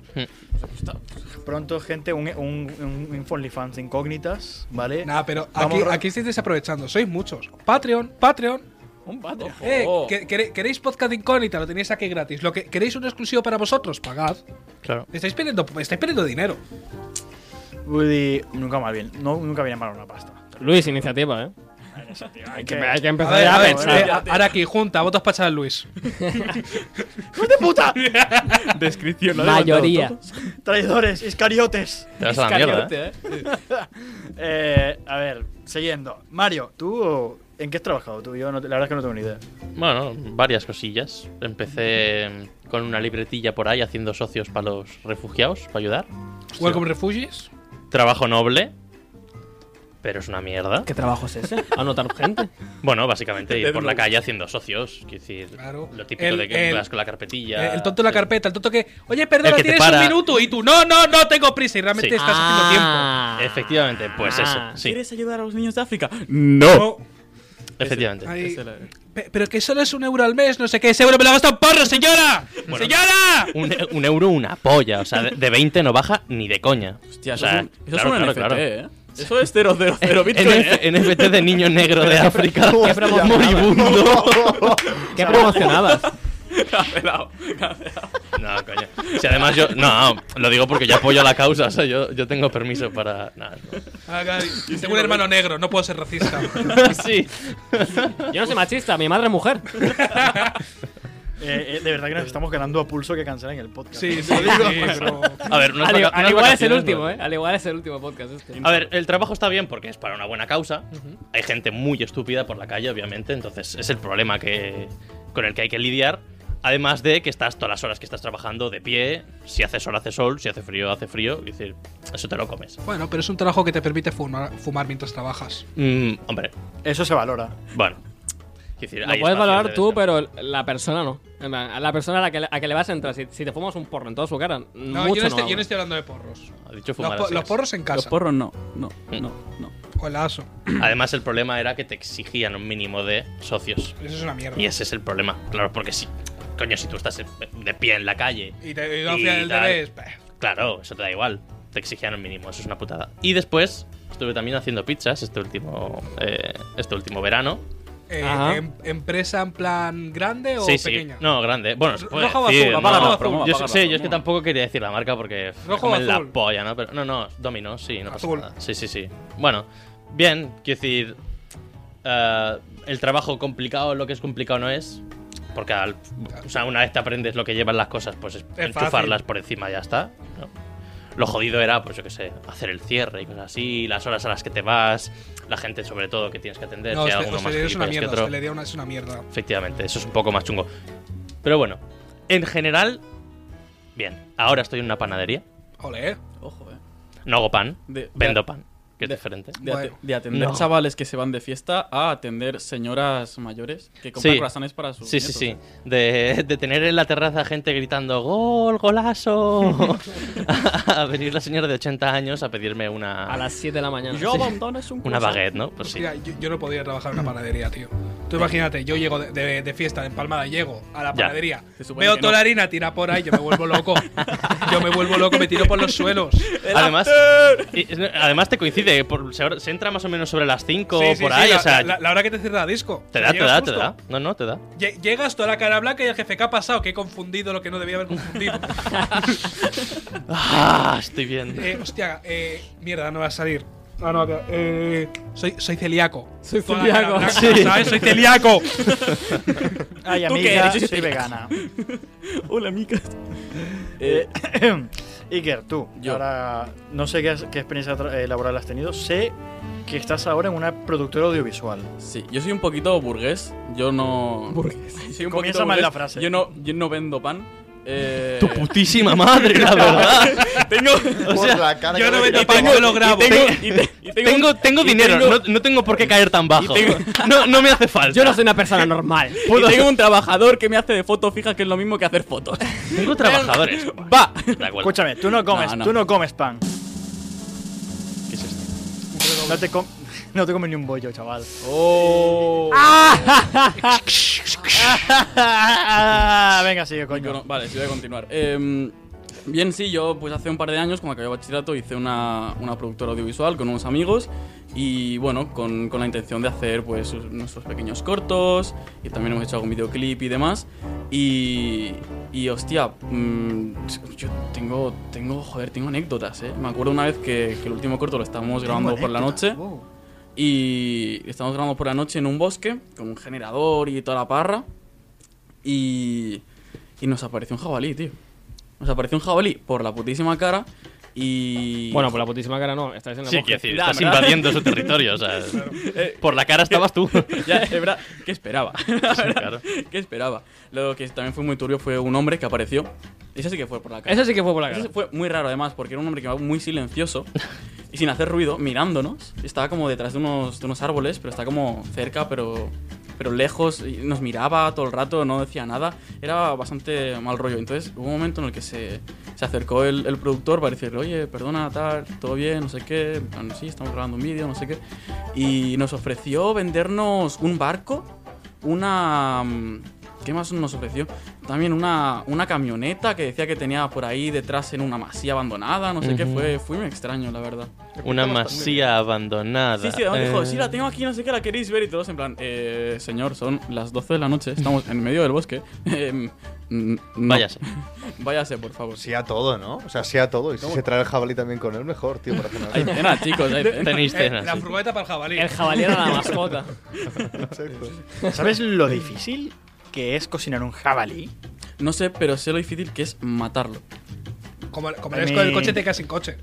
A: Pronto, gente, un, un, un, un OnlyFans de incógnitas, ¿vale?
C: Nada, pero
A: Vamos
C: aquí,
A: ra-
C: aquí estáis desaprovechando. Sois muchos. Patreon, Patreon.
A: Un Patreon.
C: Eh,
F: Oh.
C: que- quere- ¿Queréis podcast de incógnita? Lo tenéis aquí gratis. Lo que ¿Queréis un exclusivo para vosotros? Pagad.
D: Claro.
C: Estáis perdiendo, estáis perdiendo dinero.
A: Woody, nunca mal bien. No, nunca viene mal una pasta.
B: Luis, iniciativa, ¿eh?
A: Hay
B: Que hay que
C: A
B: empezar
C: ver,
B: ya
C: a
B: a
C: ver,
B: pensar.
C: eh, a- ahora aquí, junta, votos para echar Luis.
A: puta!
F: Descripción. ¿lo ha
B: Mayoría.
A: ¡Traidores! ¡Iscariotes!
D: Te vas a la mierda. ¿eh?
A: Eh, a ver, siguiendo. Mario, ¿tú en qué has trabajado tú? Yo no te- la verdad es que no tengo ni idea.
D: ¿eh? Bueno, varias cosillas. Empecé con una libretilla por ahí haciendo socios para los refugiados, para ayudar.
C: Welcome Refugees.
D: Trabajo noble, pero es una mierda.
B: ¿Qué trabajo es ese? Anotar gente.
D: Bueno, básicamente ir
F: Dead
D: por la
F: Note.
D: calle haciendo socios. Quiero decir,
C: Claro.
D: lo típico
C: El-
D: de que
C: el-
D: vas con la carpetilla.
C: Eh, el tonto de la
D: Sí.
C: carpeta, el tonto que. Oye, perdona,
D: El que te
C: tienes
D: para.
C: un minuto. Y tú, no, no, no tengo prisa. Y realmente
D: Sí. Ah.
C: estás haciendo tiempo.
D: Efectivamente, pues eso. Sí,
F: ¿Quieres ayudar a los niños de África?
C: No.
D: efectivamente.
C: Ay,
F: Ese era-
C: Oh, pe- pero que solo es un euro al mes, no sé qué. Ese euro me lo gasta un porro, señora. ¡Señora!
D: Un, e- un euro, una polla. O sea, de, de 20 no baja ni de coña.
F: Hostia,
D: o
F: eso
D: sea,
F: es un, eso es
D: claro,
F: un
D: claro,
F: NFT,
D: claro.
F: ¿eh? Eso es 00 Bitcoin.
D: NF
F: ¿eh?
D: NFT de niño negro de África.
E: Hostia,
C: ¿eh?
D: moribundo.
B: ¿Qué promocionabas?
F: Cancelado, cancelado.
D: No, coño. Si además yo. No, lo digo porque yo apoyo la causa. O sea, yo, yo tengo permiso para. nada,
C: Ah, claro, Tengo un hermano negro, no puedo ser racista.
D: no. sí.
B: Yo no soy machista, mi madre es mujer.
A: Eh, eh, de verdad que nos estamos ganando a pulso que cancelen el podcast.
C: Sí, sí, sí, pero-
D: A ver, unas
B: Al,
D: vaca-
B: al igual es
D: unas
B: el
D: vacaciones,
B: último,
D: ¿no?
B: ¿eh? Al igual es el último podcast este.
D: A ver, el trabajo está bien porque es para una buena causa. Hay gente muy estúpida por la calle, obviamente, entonces es el problema que, con el que hay que lidiar. Además de que estás todas las horas que estás trabajando de pie, si hace sol hace sol, si hace frío hace frío, es decir, eso te lo comes.
C: Bueno, pero es un trabajo que te permite fumar, fumar mientras trabajas.
D: Mm, hombre,
A: Eso se valora.
D: bueno. Quiero decir,
B: Lo
D: hay
B: puedes
D: espacios
B: valorar
D: de
B: tú,
D: descanso.
B: pero la persona no. En plan, A la persona a la que, a que le vas a entrar, si, si te fumas un porro en toda su cara,
C: No,
B: mucho
C: yo, no
B: no
C: estoy, yo no
B: hablo.
C: estoy hablando de porros.
D: Ha dicho
C: Los,
D: fumar
C: po-
D: así
C: los
D: es.
C: porros en
F: Los
C: casa.
F: porros no, no,
D: Mm.
F: no, no.
C: o el aso.
D: Además, el problema era que te exigían un mínimo de socios.
C: Eso es una mierda.
D: Y ese es el problema, claro, porque sí. Coño, si tú estás de pie en la calle
C: Y te y
D: Y
C: al
D: tal.
C: revés. pues, bah.
D: Claro, eso te da igual. Te exigían el mínimo, eso es una putada. Y después estuve también haciendo pizzas este último, eh, este último verano.
C: Eh,
B: Ajá.
C: em- ¿Empresa en plan grande o
D: sí,
C: pequeña?
D: sí. No, grande. Bueno, se puede
C: Roja o
D: decir,
C: azul,
D: no.
C: apaga la
F: no,
C: azul.
F: promo,
D: Yo
F: apaga
D: sé-
F: la
D: yo es que
F: promo.
D: tampoco quería decir la marca porque me
C: Rojo o
D: comen la
C: azul.
D: polla, ¿no? Pero no, no, Domino, sí, no pasa
C: Azul.
D: nada. Sí, sí, sí. Bueno, bien, quiero decir, eh, el trabajo complicado, lo que es complicado no es, porque al- o sea, una vez te aprendes lo que llevan las cosas, pues es
C: fácil.
D: enchufarlas por encima y ya está. ¿no? Lo jodido era, pues yo qué sé, hacer el cierre y cosas así, las horas a las que te vas, la gente sobre todo que tienes que atender,
C: No,
D: si hay
C: hoste-
D: alguno más
C: hostelería es una
D: gilipollas que
C: mierda. este
D: otro.
C: hostelería una- es una mierda.
D: Efectivamente, eso es un poco más chungo. Pero bueno, en general, bien. Ahora estoy en una panadería.
C: Ole, eh.
F: Ojo, eh.
D: No hago pan,
F: De-
D: vendo pan. que es diferente.
F: De, ate-
C: Bueno.
F: de atender
D: No.
F: chavales que se van de fiesta a atender señoras mayores que compran
D: Sí.
F: corazones para sus
D: Sí, sí,
F: nietos.
D: sí.
C: eh.
D: De, de tener en la terraza gente gritando ¡Gol, golazo! a venir la señora de 80 años a pedirme una,
B: A las 7 de la mañana.
F: Yo
B: Sí.
F: abandono es un
D: una
F: cosa.
D: baguette, ¿no? Pues sí. Mm.
C: Mira, yo, yo no podría trabajar en una panadería, tío. Tú imagínate, yo llego de, de- de fiesta de empalmada, llego a la
D: Ya.
C: panadería,
F: Se supone
C: veo
F: que
C: toda
F: no.
C: la harina tira por ahí, yo me vuelvo loco. yo me vuelvo loco, me tiro por los suelos.
D: Además, y- además te coincide, por- se, se entra más o menos sobre las 5
C: Sí,
D: o
C: sí,
D: por
C: sí,
D: ahí,
C: la,
D: o sea,
C: la- la hora que te cierra la disco.
D: te
C: O sea,
D: da, te
C: llegas
D: da, te
C: justo.
D: da. No, no, te da.
C: Lle- Llegas toda la cara blanca y el jefe, ¿qué ha pasado? Que he confundido lo que no debía haber confundido.
D: Ah, estoy bien.
C: Eh, hostia, eh, mierda, no va a salir. Ah, no, acá, eh, soy, soy celíaco.
F: eh.
B: Soy
C: Toda la cara
B: celíaco.
C: blanca,
B: Sí.
C: ¿sabes? Soy celíaco.
A: Ay,
F: ¿Tú qué
A: amiga,
F: eres?
A: soy vegana.
F: Hola, Eh, amigas.
A: Iker, tú,
F: Yo.
A: ahora no sé qué, has- qué experiencia tra- eh, laboral has tenido. Sé que estás ahora en una productora audiovisual.
F: Sí, yo soy un poquito burgués. Yo no. Burgués. Soy un
A: Comienza
F: poquito
A: mal
F: burgués.
A: la frase.
F: Yo no, yo no vendo pan. Eh,
D: Tu putísima madre, la verdad.
F: tengo.
D: O
E: Por
D: sea,
E: la cara
C: yo
E: que
C: no
E: le
C: vendo
E: queda.
C: pan, yo lo
F: y
C: grabo.
F: Ah, pues tengo, y te- y tengo,
D: Tengo, tengo
F: y
D: dinero,
F: tengo-
D: no, no tengo por qué caer tan bajo.
F: tengo-
D: No, no me hace falta.
B: Yo no soy una persona normal.
F: y tengo un trabajador que me hace de foto fija, que es lo mismo que hacer fotos.
D: Tengo trabajadores.
F: Va.
D: Da igual.
A: Escúchame, tú no comes,
F: No, no.
A: tú no comes pan.
D: ¿Qué es esto?
A: No te, com- no te comes ni un bollo, chaval.
F: Oh.
A: Ah. Venga, sigue, coño.
F: Bueno, vale, sí, voy a continuar. Em, bien, sí, yo pues hace un par de años, cuando acabé bachillerato, hice una, una productora audiovisual con unos amigos y bueno, con, con la intención de hacer pues sus- nuestros pequeños cortos y también hemos hecho algún videoclip y demás. Y, y hostia, mm, yo tengo, tengo, joder, tengo anécdotas, ¿eh? Me acuerdo una vez que, que el último corto lo estábamos grabando por la noche.
A: Wow.
F: Y estamos grabando por la noche en un bosque con un generador y toda la parra. Y, y nos apareció un jabalí, tío. Nos apareció un jabalí por la putísima cara. Y.
B: Bueno, por la putísima cara no, estáis en la
D: Sí,
B: monja.
D: quiero decir,
F: Da,
D: estás
F: ¿verdad?
D: invadiendo su territorio, o sea. Por la cara estabas tú.
F: Eh, ya, es verdad. ¿Qué esperaba?
D: Claro.
F: ¿Qué esperaba? Lo que también fue muy turbio fue un hombre que apareció. Ese sí que fue por la cara.
B: Eso sí que fue por la cara.
F: Ese fue muy raro además, porque era un hombre que iba muy silencioso y sin hacer ruido, mirándonos. Estaba como detrás de unos, de unos árboles, pero está como cerca, pero, pero lejos. Y nos miraba todo el rato, no decía nada. Era bastante mal rollo. Entonces hubo un momento en el que se, se acercó el, el productor para decirle, oye, perdona, tal, todo bien, no sé qué. En plan, Sí, estamos grabando un vídeo, no sé qué. Y nos ofreció vendernos un barco, una... mm, ¿Qué más nos ofreció? También una, una camioneta que decía que tenía por ahí detrás en una masía abandonada, no sé qué,
D: Ujú.
F: fue, fue muy extraño, la verdad.
D: Una masía abandonada.
F: Sí, sí, además dijo,
D: Eh,
F: sí, la tengo aquí, no sé qué, la queréis ver y todos en plan, eh, señor, son las 12 de la noche, estamos en medio del bosque. Em, mm, no.
D: Váyase.
F: Váyase, por favor.
E: Sí a todo, ¿no? O sea, sí a todo. Y si se trae el jabalí también con él, mejor, tío, para cenar.
F: Hay cena, chicos, hay cena.
D: Tenéis
C: Eh,
D: cena.
C: la
D: sí.
C: furgoneta para el jabalí.
B: El jabalí era la mascota.
E: Exacto.
A: ¿Sabes lo difícil que es cocinar un jabalí?
F: No sé, pero sé lo difícil que es matarlo.
A: ¿Eh?
C: Como, como
A: A
C: eres
A: mí-
C: con el coche, te quedas sin coche.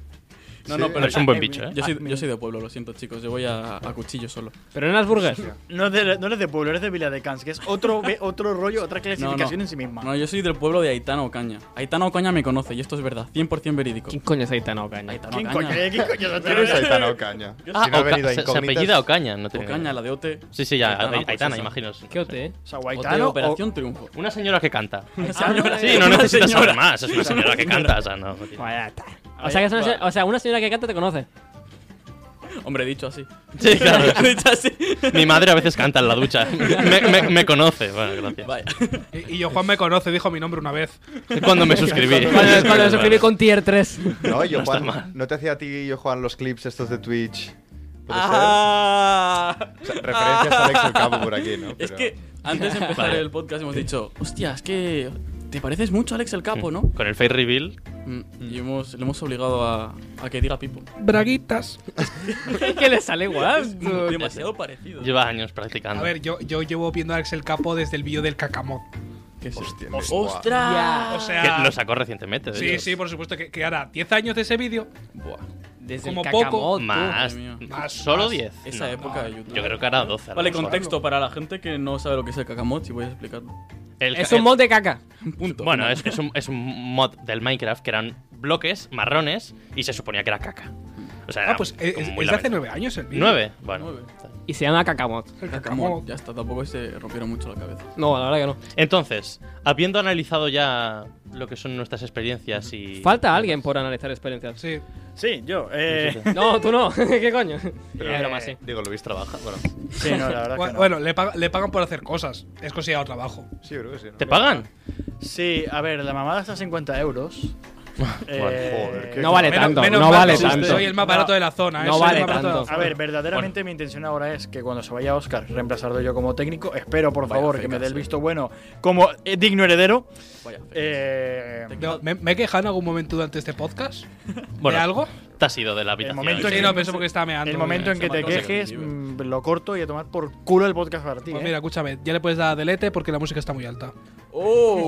F: No, no, pero
D: Es un buen bicho, ¿eh?
F: yo
A: Ah,
F: soy, yo soy de pueblo, lo siento, chicos, yo voy a, a cuchillo solo.
B: Pero en las burgues.
A: No, es de- no eres de pueblo, eres de Vila de Cans, que es otro, ve- otro rollo, otra
F: No,
A: clasificación
F: no.
A: en sí misma.
F: No, yo soy del pueblo de Aitana Ocaña. Aitana Ocaña me conoce y esto es verdad, 100% verídico.
B: ¿Quién coño es Aitana Ocaña?
F: Aitana
A: ¿Quién
F: Ocaña.
A: coño? eh, ¿Quién coño? es
E: ¿Quién es
A: Aitana?
E: Aitana Ocaña?
D: Ah,
E: Si no ha
D: Oca-
E: venido a
D: se, se
E: incógnitas.
D: apellida Ocaña, no tenía
F: Ocaña, la de OT.
D: Sí, sí, ya, Aitana,
F: pues esa.
D: imagino. sí.
B: ¿Qué OT?
A: O sea,
F: OT,
A: Guaitano o-
F: Operación Triunfo.
D: Una señora que canta.
B: señora.
D: Ah, Sí, no
F: Una
D: necesitas
F: señora.
D: saber más, es una señora que canta, o sea, no.
B: Guayata. O sea, que es una, se- o sea, una señora que canta te conoce.
F: Hombre, dicho así.
D: Sí, claro.
F: dicho así.
D: Mi madre a veces canta en la ducha. Me, me- me conoce, bueno, gracias.
F: Vaya.
C: Y, y yo, Juan me conoce, dijo mi nombre una vez.
D: Cuando me suscribí.
B: Cuando, cuando se escribí con tier 3.
E: No, yo,
D: No está
E: Juan,
D: mal.
E: ¿no te hacía a ti y yo, Juan, los clips estos de Twitch? ¿Puede
F: Ah.
E: ser? O sea, referencias a Alex el Capo por aquí, ¿no?
F: Es
E: Pero-
F: que antes de empezar
D: Vale.
F: el podcast hemos dicho, hostia, es que te pareces mucho a Alex el Capo, ¿no?
D: Con el face reveal.
F: Mm, Y hemos, le hemos obligado a, a que diga Pipo.
C: Braguitas.
B: que le sale igual.
F: Demasiado parecido.
D: Lleva años
C: A
D: practicando.
C: ver, yo, yo llevo viendo a Alex el Capo desde el vídeo del cacamot.
F: ¿Qué es eso?
E: Hostia, guau.
F: ¡Ostras!
C: O
D: Que
C: sea.
D: lo sacó recientemente, de
C: Sí,
D: hecho.
C: sí, por supuesto, que, que hará 10 años de ese vídeo.
F: Buah.
B: Desde
C: Como
B: el
C: poco.
B: cacamot, Oh, tú.
D: Más,
F: madre mía.
C: Más,
D: solo
C: más.
D: 10.
F: Esa
D: No.
F: época de YouTube.
D: Yo creo que ahora 12. a lo
F: Vale,
D: mejor.
F: contexto para la gente que no sabe lo que es el cacamot, si voy a explicarlo.
D: El ca-
B: Es un
D: el-
B: mod de caca.
F: Punto.
D: Bueno, es, es un, es un mod del Minecraft que eran bloques marrones y se suponía que era caca. O sea,
C: Ah,
D: era
C: pues
D: como
C: eh, es,
D: muy
C: es de hace
D: lamentable.
C: nueve años el vídeo.
D: ¿Nueve? Bueno.
F: Nueve.
B: Y se llama Kakamot.
C: El
F: Como,
C: Kakamot.
F: ya está, tampoco se rompieron mucho la cabeza.
B: No, la verdad que no.
D: Entonces, habiendo analizado ya lo que son nuestras experiencias y.
B: Falta alguien por analizar experiencias.
C: Sí.
A: Sí, yo. Eh,
B: No, tú no. ¿Qué coño? Pero, broma, sí.
E: eh, Digo, Luis trabaja. Bueno,
A: sí, no, la verdad es que
C: Bueno,
A: no.
C: bueno, le, paga- le pagan por hacer cosas. Es considerado trabajo.
E: sí, yo creo que sí. ¿no?
D: ¿Te pagan?
A: Sí, a ver, la mamada está a 50 euros. Eh,
E: Joder, qué-
B: No vale
C: Menos-
B: tanto,
C: menos
B: no
C: mal
B: vale
C: que soy-
B: tanto.
C: Soy el más barato de la zona. ¿eh?
B: No
C: Soy el
B: vale
C: más barato de la
B: tanto.
A: A ver, verdaderamente mi intención ahora es que cuando se vaya Oscar, reemplazarlo yo como técnico. Espero, por
F: Vaya
A: favor, que
F: feca,
A: me dé el
F: sí.
A: visto bueno como eh, digno heredero.
F: Vaya. fe.
A: Eh,
F: Te-
C: No, ¿me, me he quejado en algún momento durante este podcast?
D: Bueno,
C: ¿De algo?
D: Te has ido de la habitación.
A: momento
D: sí.
C: Sí, no, pero eso porque estaba meando.
A: el momento en
F: se
A: que
F: me
A: te
F: acaba de
A: quejes,
F: salir un
A: mm, lo corto y a tomar por culo el podcast para ti.
C: Pues
A: ¿eh?
C: mira, escúchame, ya le puedes dar a delete porque la música está muy alta.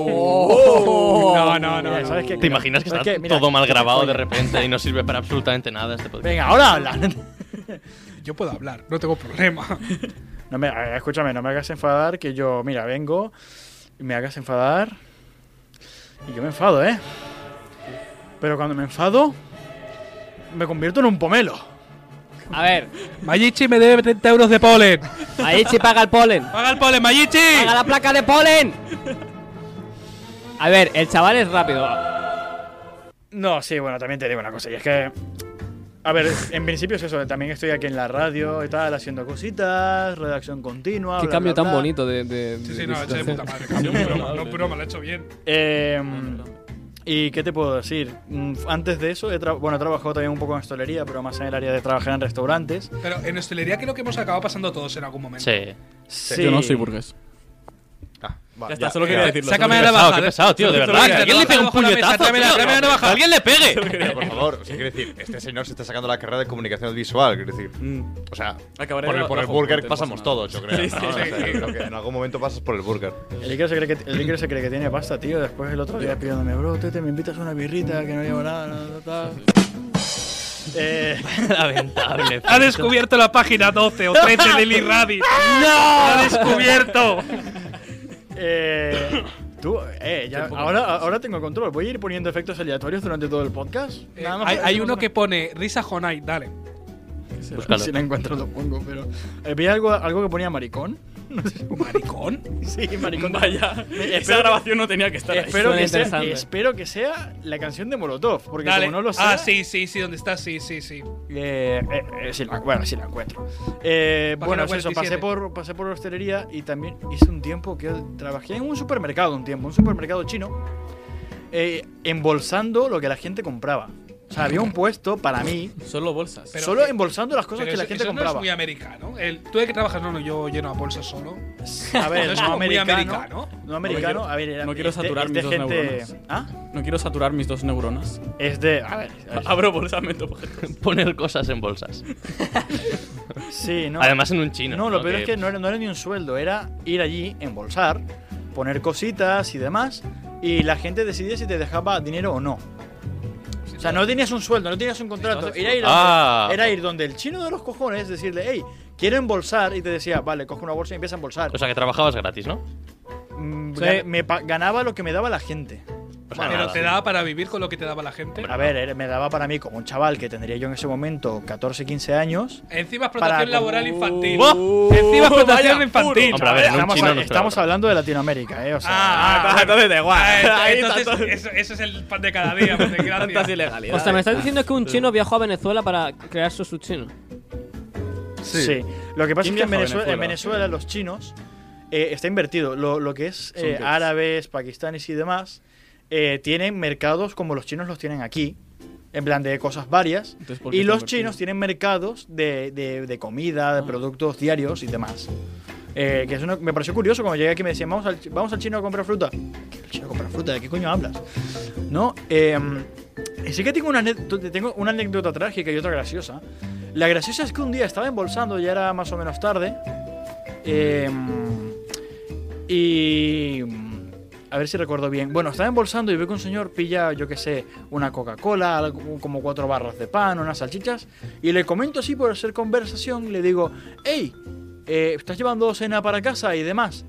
F: ¡Oh!
A: No, no, no.
D: Mira,
A: ¿sabes qué?
D: ¿Te imaginas que
A: ¿Sabes
D: está
A: qué? Mira,
D: todo mal
A: que te
D: grabado de
A: follen.
D: repente y no sirve para absolutamente nada este podcast?
A: Venga, ahora habla.
C: Yo puedo hablar, no tengo problema.
A: No me, eh, escúchame, no me hagas enfadar que yo, mira, vengo y me hagas enfadar. Y yo me enfado, ¿eh? Pero cuando me enfado, me convierto en un pomelo.
B: A ver,
C: Mayichi me debe 30 euros de polen.
B: ahí se paga el polen.
C: ¡Paga el polen, Mayichi!
B: ¡Paga la placa de polen! A ver, el chaval es rápido.
A: No, sí, bueno, también te digo una cosa, y es que. A ver, en principio es eso, también estoy aquí en la radio y tal, haciendo cositas, redacción continua.
B: Qué
A: bla,
B: cambio
A: bla,
B: tan
A: bla.
B: bonito de. de-
C: Sí,
B: de
C: sí, no, eché de
B: situación.
C: puta madre. cabrón,
F: Sí,
C: broma,
F: madre.
C: No, broma, lo he hecho bien.
A: Eh, ¿Y qué te puedo decir? Mm, Antes de eso, he tra- bueno, he trabajado también un poco en hostelería, pero más en el área de trabajar en restaurantes.
C: Pero en hostelería creo que hemos acabado pasando todos en algún momento.
D: Sí.
A: Sí.
F: Yo no soy burgués.
E: Ah, va,
F: Ya está,
E: ya.
F: solo quería decirlo.
C: Sácame
D: Qué
C: la
D: pesado,
C: navaja.
D: qué pesado, tío, de verdad. Que alguien le pegue un puñetazo.
C: Tráeme la
D: tío.
C: tráeme la
D: Que
C: navaja.
D: alguien le pegue.
E: Pero por favor, o sea, quiero decir, este señor se está sacando la carrera de comunicación visual, quiero decir. O sea,
F: Mm. Acabaré
E: por el,
F: bajo
E: por el
F: puente,
E: burger
F: no pasa
E: pasamos
F: nada.
E: todos, yo creo.
F: Sí, sí,
E: ¿no? O sea,
F: sí.
E: creo que en algún momento pasas por el burger.
A: El Iker, se cree que, el Iker se cree que tiene pasta, tío. Después el otro día pidiéndome, bro, te me invitas a una birrita que no llevo nada, no, no, tal". Eh,
D: Lamentable.
C: Ha descubierto la página 12 o 13 de Lee Rabbit. ¡No! ¡Ha descubierto!
A: eh, tú, eh, ya- ahora, ahora tengo control. Voy a ir poniendo efectos aleatorios durante todo el podcast.
C: Eh,
A: Nada más
C: hay,
A: para
C: hay
A: decir
C: uno
A: una-
C: que pone risa Jonai, dale.
D: Búscalo.
A: Si la encuentro lo pongo, pero. Eh, vi algo, algo que ponía maricón.
C: ¿Maricón?
A: Sí, maricón.
F: Vaya, esa
A: espero-
F: grabación no tenía que estar ahí.
A: Espero
B: Suena
A: que, sea,
B: interesante.
A: espero que sea la canción de Molotov, porque
C: Dale.
A: como no lo sé.
C: ah, sí, sí, sí, ¿dónde está? Sí, sí, sí.
A: Eh, eh, eh, sí la, bueno, sí la encuentro. Eh,
C: Página
A: bueno, es eso, pasé
C: 47.
A: por, pasé por hostelería y también hice un tiempo que trabajé en un supermercado, un tiempo, un supermercado chino, eh, embolsando lo que la gente compraba. O sea, había un puesto para mí,
F: Solo bolsas.
C: Pero- eh,
A: solo embolsando las cosas
C: Pero
A: que la
C: eso-
A: gente
C: eso No es
A: compraba.
C: muy americano. El, Tú de que trabajas, no, no, yo lleno a bolsas solo.
A: a ver,
C: no es
A: no,
C: como muy
A: americano,
C: americano.
A: No americano, a ver, era-
F: no quiero
A: es de-
F: saturar
A: es de
F: mis dos
A: gente.
F: neuronas.
A: ¿Ah?
F: No quiero saturar mis dos neuronas.
A: Es de. A ver, a ver,
C: Ah,
F: Abro bolsa, meto objetos.
D: Poner cosas en bolsas.
A: sí, no.
C: ah,
D: Además, en un chino.
A: No, lo peor es que no era, no era ni un sueldo, era ir allí, embolsar, poner cositas y demás, y la gente decidía si te dejaba dinero o no. O sea, no tenías un sueldo, no tenías un contrato. Era ir, donde,
D: Ah.
A: era ir donde el chino de los cojones, decirle, hey, quiero embolsar, y te decía, vale, coge una bolsa y empieza a embolsar.
D: O sea, que trabajabas gratis, ¿no?
A: Mm,
B: Sí.
A: gan- me pa- ganaba lo que me daba la gente.
D: O sea,
C: pero
D: nada.
C: te daba para vivir con lo que te daba la gente.
A: A ver, era- me daba para mí, como un chaval que tendría yo en ese momento 14, 15 años.
C: Encima explotación
A: Para-
C: laboral infantil.
D: ¡Oh!
A: ¡Buah!
C: Encima explotación
F: vaya
C: infantil.
D: Hombre, a ver, en un
A: estamos
D: chino
A: a-
D: no se
A: estamos
D: trata.
A: hablando de Latinoamérica, ¿eh? O sea,
C: Ah, ah,
F: entonces da igual.
C: ah,
F: Ahí está
C: entonces,
F: todo.
C: eso, eso es el pan de cada día, pues, por
F: Tantas
C: desgracia.
B: O
F: ilegalidades.
B: sea, me estás diciendo que un chino viajó a Venezuela para crear su su chino.
C: ah,
A: Sí. Lo que pasa es
F: ¿Quién
A: que en
F: viaja
A: Venezuela, en
F: a Venezuela?
A: Venezuela los chinos eh, está invertido. Lo, lo que es
F: Son
A: eh,
F: crepes.
A: árabes, pakistaníes y demás eh, tienen mercados como los chinos los tienen aquí, en plan de cosas varias.
F: Entonces, ¿por qué
A: Y
F: está
A: los
F: invertido? Ah.
A: chinos tienen mercados de, de- de comida, de productos diarios y demás. Eh, que es uno- me pareció curioso cuando llegué aquí y me decían, vamos al, chi- vamos al chino a comprar fruta. ¿Qué, ¿El chino a comprar fruta? ¿De qué coño hablas? ¿No? Em, y sí que tengo una, anécdota, tengo una anécdota trágica y otra graciosa. La graciosa es que un día estaba embolsando, ya era más o menos tarde. em, y. mm, A ver si recuerdo bien. Bueno, estaba embolsando y veo que un señor pilla, yo qué sé, una Coca-Cola, algo- como cuatro barras de pan, unas salchichas. Y le comento así por hacer conversación, le digo, hey, estás llevando cena para casa y demás.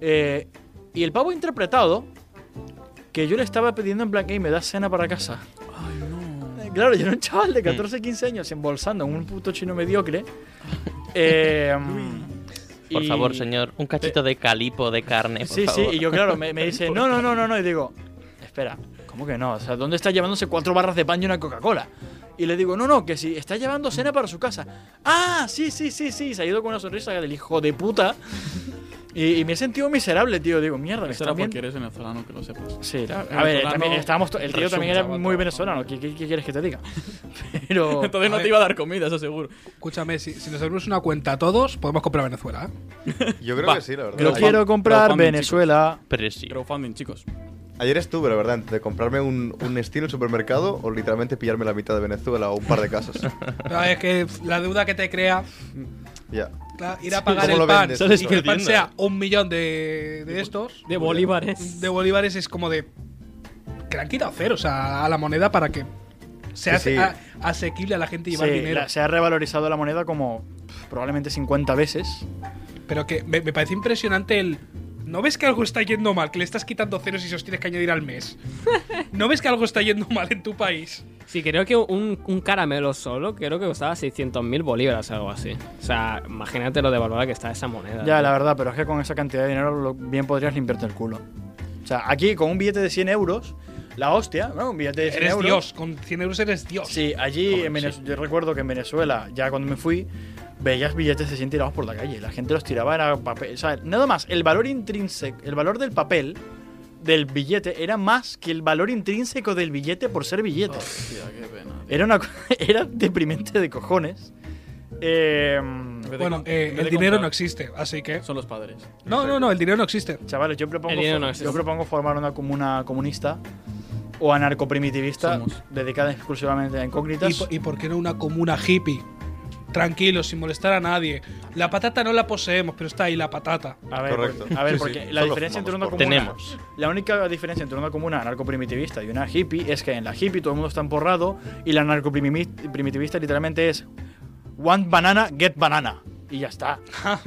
A: Eh, y el pavo interpretado, que yo le estaba pidiendo en plan, hey, me das cena para casa. Ay, no. Eh, Mm. claro, yo era un chaval de 14, 15 años embolsando a un puto chino mediocre. Eh, mm,
D: Por
A: y-
D: favor, señor, un cachito de calipo de carne. Eh, Por
A: Sí, sí,
D: favor.
A: y yo, claro, me, me dice, no, no, no, no, no, y digo, espera, ¿cómo que no? O sea, ¿dónde está llevándose cuatro barras de pan y una Coca-Cola? Y le digo, no, no, que si está llevando cena para su casa. Ah, sí, sí, sí, sí, se ha ido con una sonrisa del hijo de puta. Y, y me he sentido miserable, tío. Digo, mierda, me
F: Será
A: están
F: porque
A: viendo.
F: eres venezolano, que lo sepas.
A: Sí, a a
F: venezolano
A: ver, también estábamos to- el tío también era
F: resulta,
A: muy
F: guapo.
A: venezolano. ¿Qué, qué- qué quieres que te diga? Pero.
F: Entonces no
C: ver.
F: te iba a dar comida, eso seguro.
C: Escúchame, si, si nos abrimos una cuenta a todos, podemos comprar Venezuela. ¿eh?
E: Yo creo
F: Va,
E: que sí, la verdad.
A: Yo
F: Crowdfunding,
A: quiero comprar
F: crowdfunding,
A: Venezuela.
D: Pero sí.
F: Crowdfunding, chicos.
E: Ayer estuve, la verdad, de comprarme un, un estilo en supermercado o literalmente pillarme la mitad de Venezuela o un par de casas.
C: Pero es que la deuda que te crea
E: ya.
C: claro, ir a
E: Sí,
C: pagar
E: ¿cómo
C: el
E: lo
C: pan
E: vendes?
C: y que el pan
D: Perdiendo.
C: sea un millón de, de estos,
B: De bolívares.
C: de bolívares, es como de. Que le han quitado cero, o sea, a la moneda para que sea
E: Sí, sí.
C: ase- a- asequible a la gente llevar
A: Sí,
C: dinero.
A: la- se ha revalorizado la moneda como pff, probablemente 50 veces.
C: Pero que me, me parece impresionante el. ¿No ves que algo está yendo mal? Que le estás quitando ceros y se los tienes que añadir al mes. ¿No ves que algo está yendo mal en tu país?
B: Sí, creo que un, un caramelo solo creo que costaba 600.000 bolívares o algo así. O sea, imagínate lo devaluada que está esa
C: Ah,
B: moneda.
A: Ya,
B: tío.
A: la verdad, pero es que con esa cantidad de dinero lo- bien podrías limpiarte el culo. O sea, aquí con un billete de 100 euros, la hostia, ¿no? Un billete de 100
C: Eres
A: euros.
C: Dios, con 100 euros eres Dios.
A: Sí, allí en Venez- yo recuerdo que en Venezuela, ya cuando me fui, veías billetes de 100 tirados por la calle. La gente los tiraba, era papel. O sea, nada más, el valor intrínseco, el valor del papel del billete era más que el valor intrínseco del billete por ser billete.
F: Hostia, qué pena.
A: Era una co- era deprimente de cojones. Eh,
C: Bueno, eh, el dinero no existe, así que.
F: Son los padres.
C: No, no, no, el dinero no existe.
A: Chavales, yo propongo,
B: El dinero no
A: for-
B: existe.
A: yo propongo formar una comuna comunista o anarcoprimitivista
F: Somos.
A: dedicada exclusivamente a incógnitas.
C: ¿Y, po- y por qué no una comuna hippie? Tranquilo, sin molestar a nadie. La patata no la poseemos, pero está ahí la patata.
A: a ver,
E: Correcto.
A: por- a ver,
E: Sí, sí.
A: porque la
E: Solo
A: diferencia entre una
E: fumamos
A: comuna.
D: Tenemos.
A: La única diferencia entre una comuna anarcoprimitivista y una hippie es que en la hippie todo el mundo está emporrado y la anarcoprimitivista literalmente es want banana, get banana. Y ya está.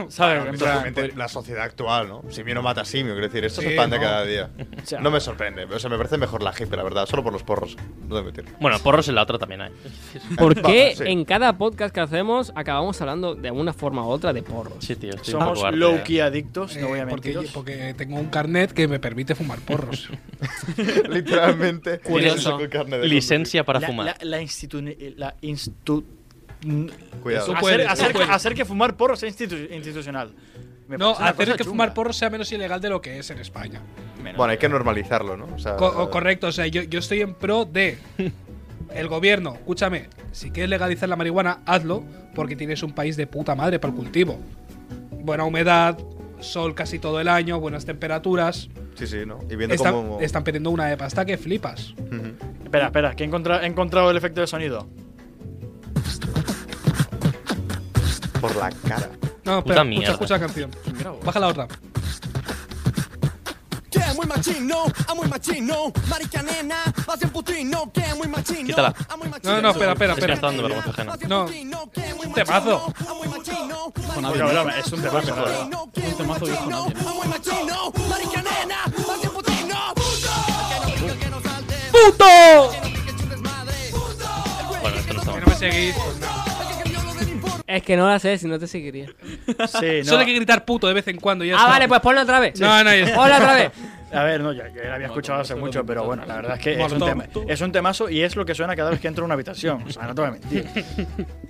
A: ¿Sabes? En plan,
E: Realmente la sociedad actual, ¿no? Simio no mata simio, quiero decir, esto
C: pues- Sí,
E: es el pan de
C: no.
E: cada día.
A: O sea,
E: No me sorprende, o sea, me parece mejor la hippie, la verdad, solo por los porros. No debo mentir.
D: Bueno, porros en la otra también hay.
B: ¿Por qué
E: Sí.
B: en cada podcast que hacemos acabamos hablando de una forma u otra de porros?
D: Sí, tío. estoy eh. un
A: somos
D: poco harto ya.
A: low-key adictos, no voy a
C: Eh, porque,
A: mentir.
C: porque tengo un carnet que me permite fumar porros.
E: Literalmente.
B: Curioso.
E: saco de carne de-
D: Licencia para
A: la,
D: fumar.
A: la, la institu- la instu- n-
E: Cuidado. Ah,
C: Eso-
A: hacer,
C: Tú puedes,
A: hacer
C: tú
A: que,
C: puedes.
A: hacer que fumar porro sea institu- institucional. Me parece
C: no,
A: una
C: hacer
A: cosa
C: que
A: chunga.
C: fumar porros sea menos ilegal de lo que es en España.
E: Bueno, hay que normalizarlo, ¿no? O sea,
C: Co- o correcto, o sea, yo, yo estoy en pro de. El gobierno, escúchame, si quieres legalizar la marihuana, hazlo, porque tienes un país de puta madre para el cultivo. Buena humedad, sol casi todo el año, buenas temperaturas.
E: Sí, sí, ¿no? Y viendo
C: Están,
E: cómo.
C: están perdiendo una de pasta que flipas.
E: Ujú.
A: Espera, espera, que he encontrado, he encontrado el efecto de sonido.
C: Ah,
E: Por la cara.
D: Puta
C: No, espera,
D: mierda.
C: escucha, escucha la canción. Baja la otra.
G: Que muy machino, ah, muy machino, marica nena, vas en putino, que muy machino.
D: Quítala.
G: ah, muy machino.
C: No, no, espera, espera,
D: Es que
C: espera.
D: está dando vergüenza ajena.
G: Vas en
C: No.
G: putino, que muy
C: Temazo.
G: machino, ah, muy machino,
F: nadie.
G: marica
A: Cabrón, es un temazo,
G: nena,
A: cabrón.
G: que muy
F: temazo dijo
G: machino,
F: nadie.
G: ah, muy machino, marica nena, vas en putino. ¡Puto!
D: Bueno, esto no está
C: Que
D: mal.
C: no me seguís. pues
B: Es que no la sé, si no te seguiría.
A: Sí, no.
C: Solo hay Eh, que gritar puto de vez en cuando. y Ya
B: Ah,
C: está.
B: vale, pues ponlo otra vez.
C: No, no, ya está.
B: Ponlo otra vez.
A: A ver, no, ya, ya la había escuchado hace mucho, pero bueno, la verdad es que es un,
C: Molotov.
A: tema, es un temazo y es lo que suena cada vez que entro a una habitación. O sea, no te voy a mentir.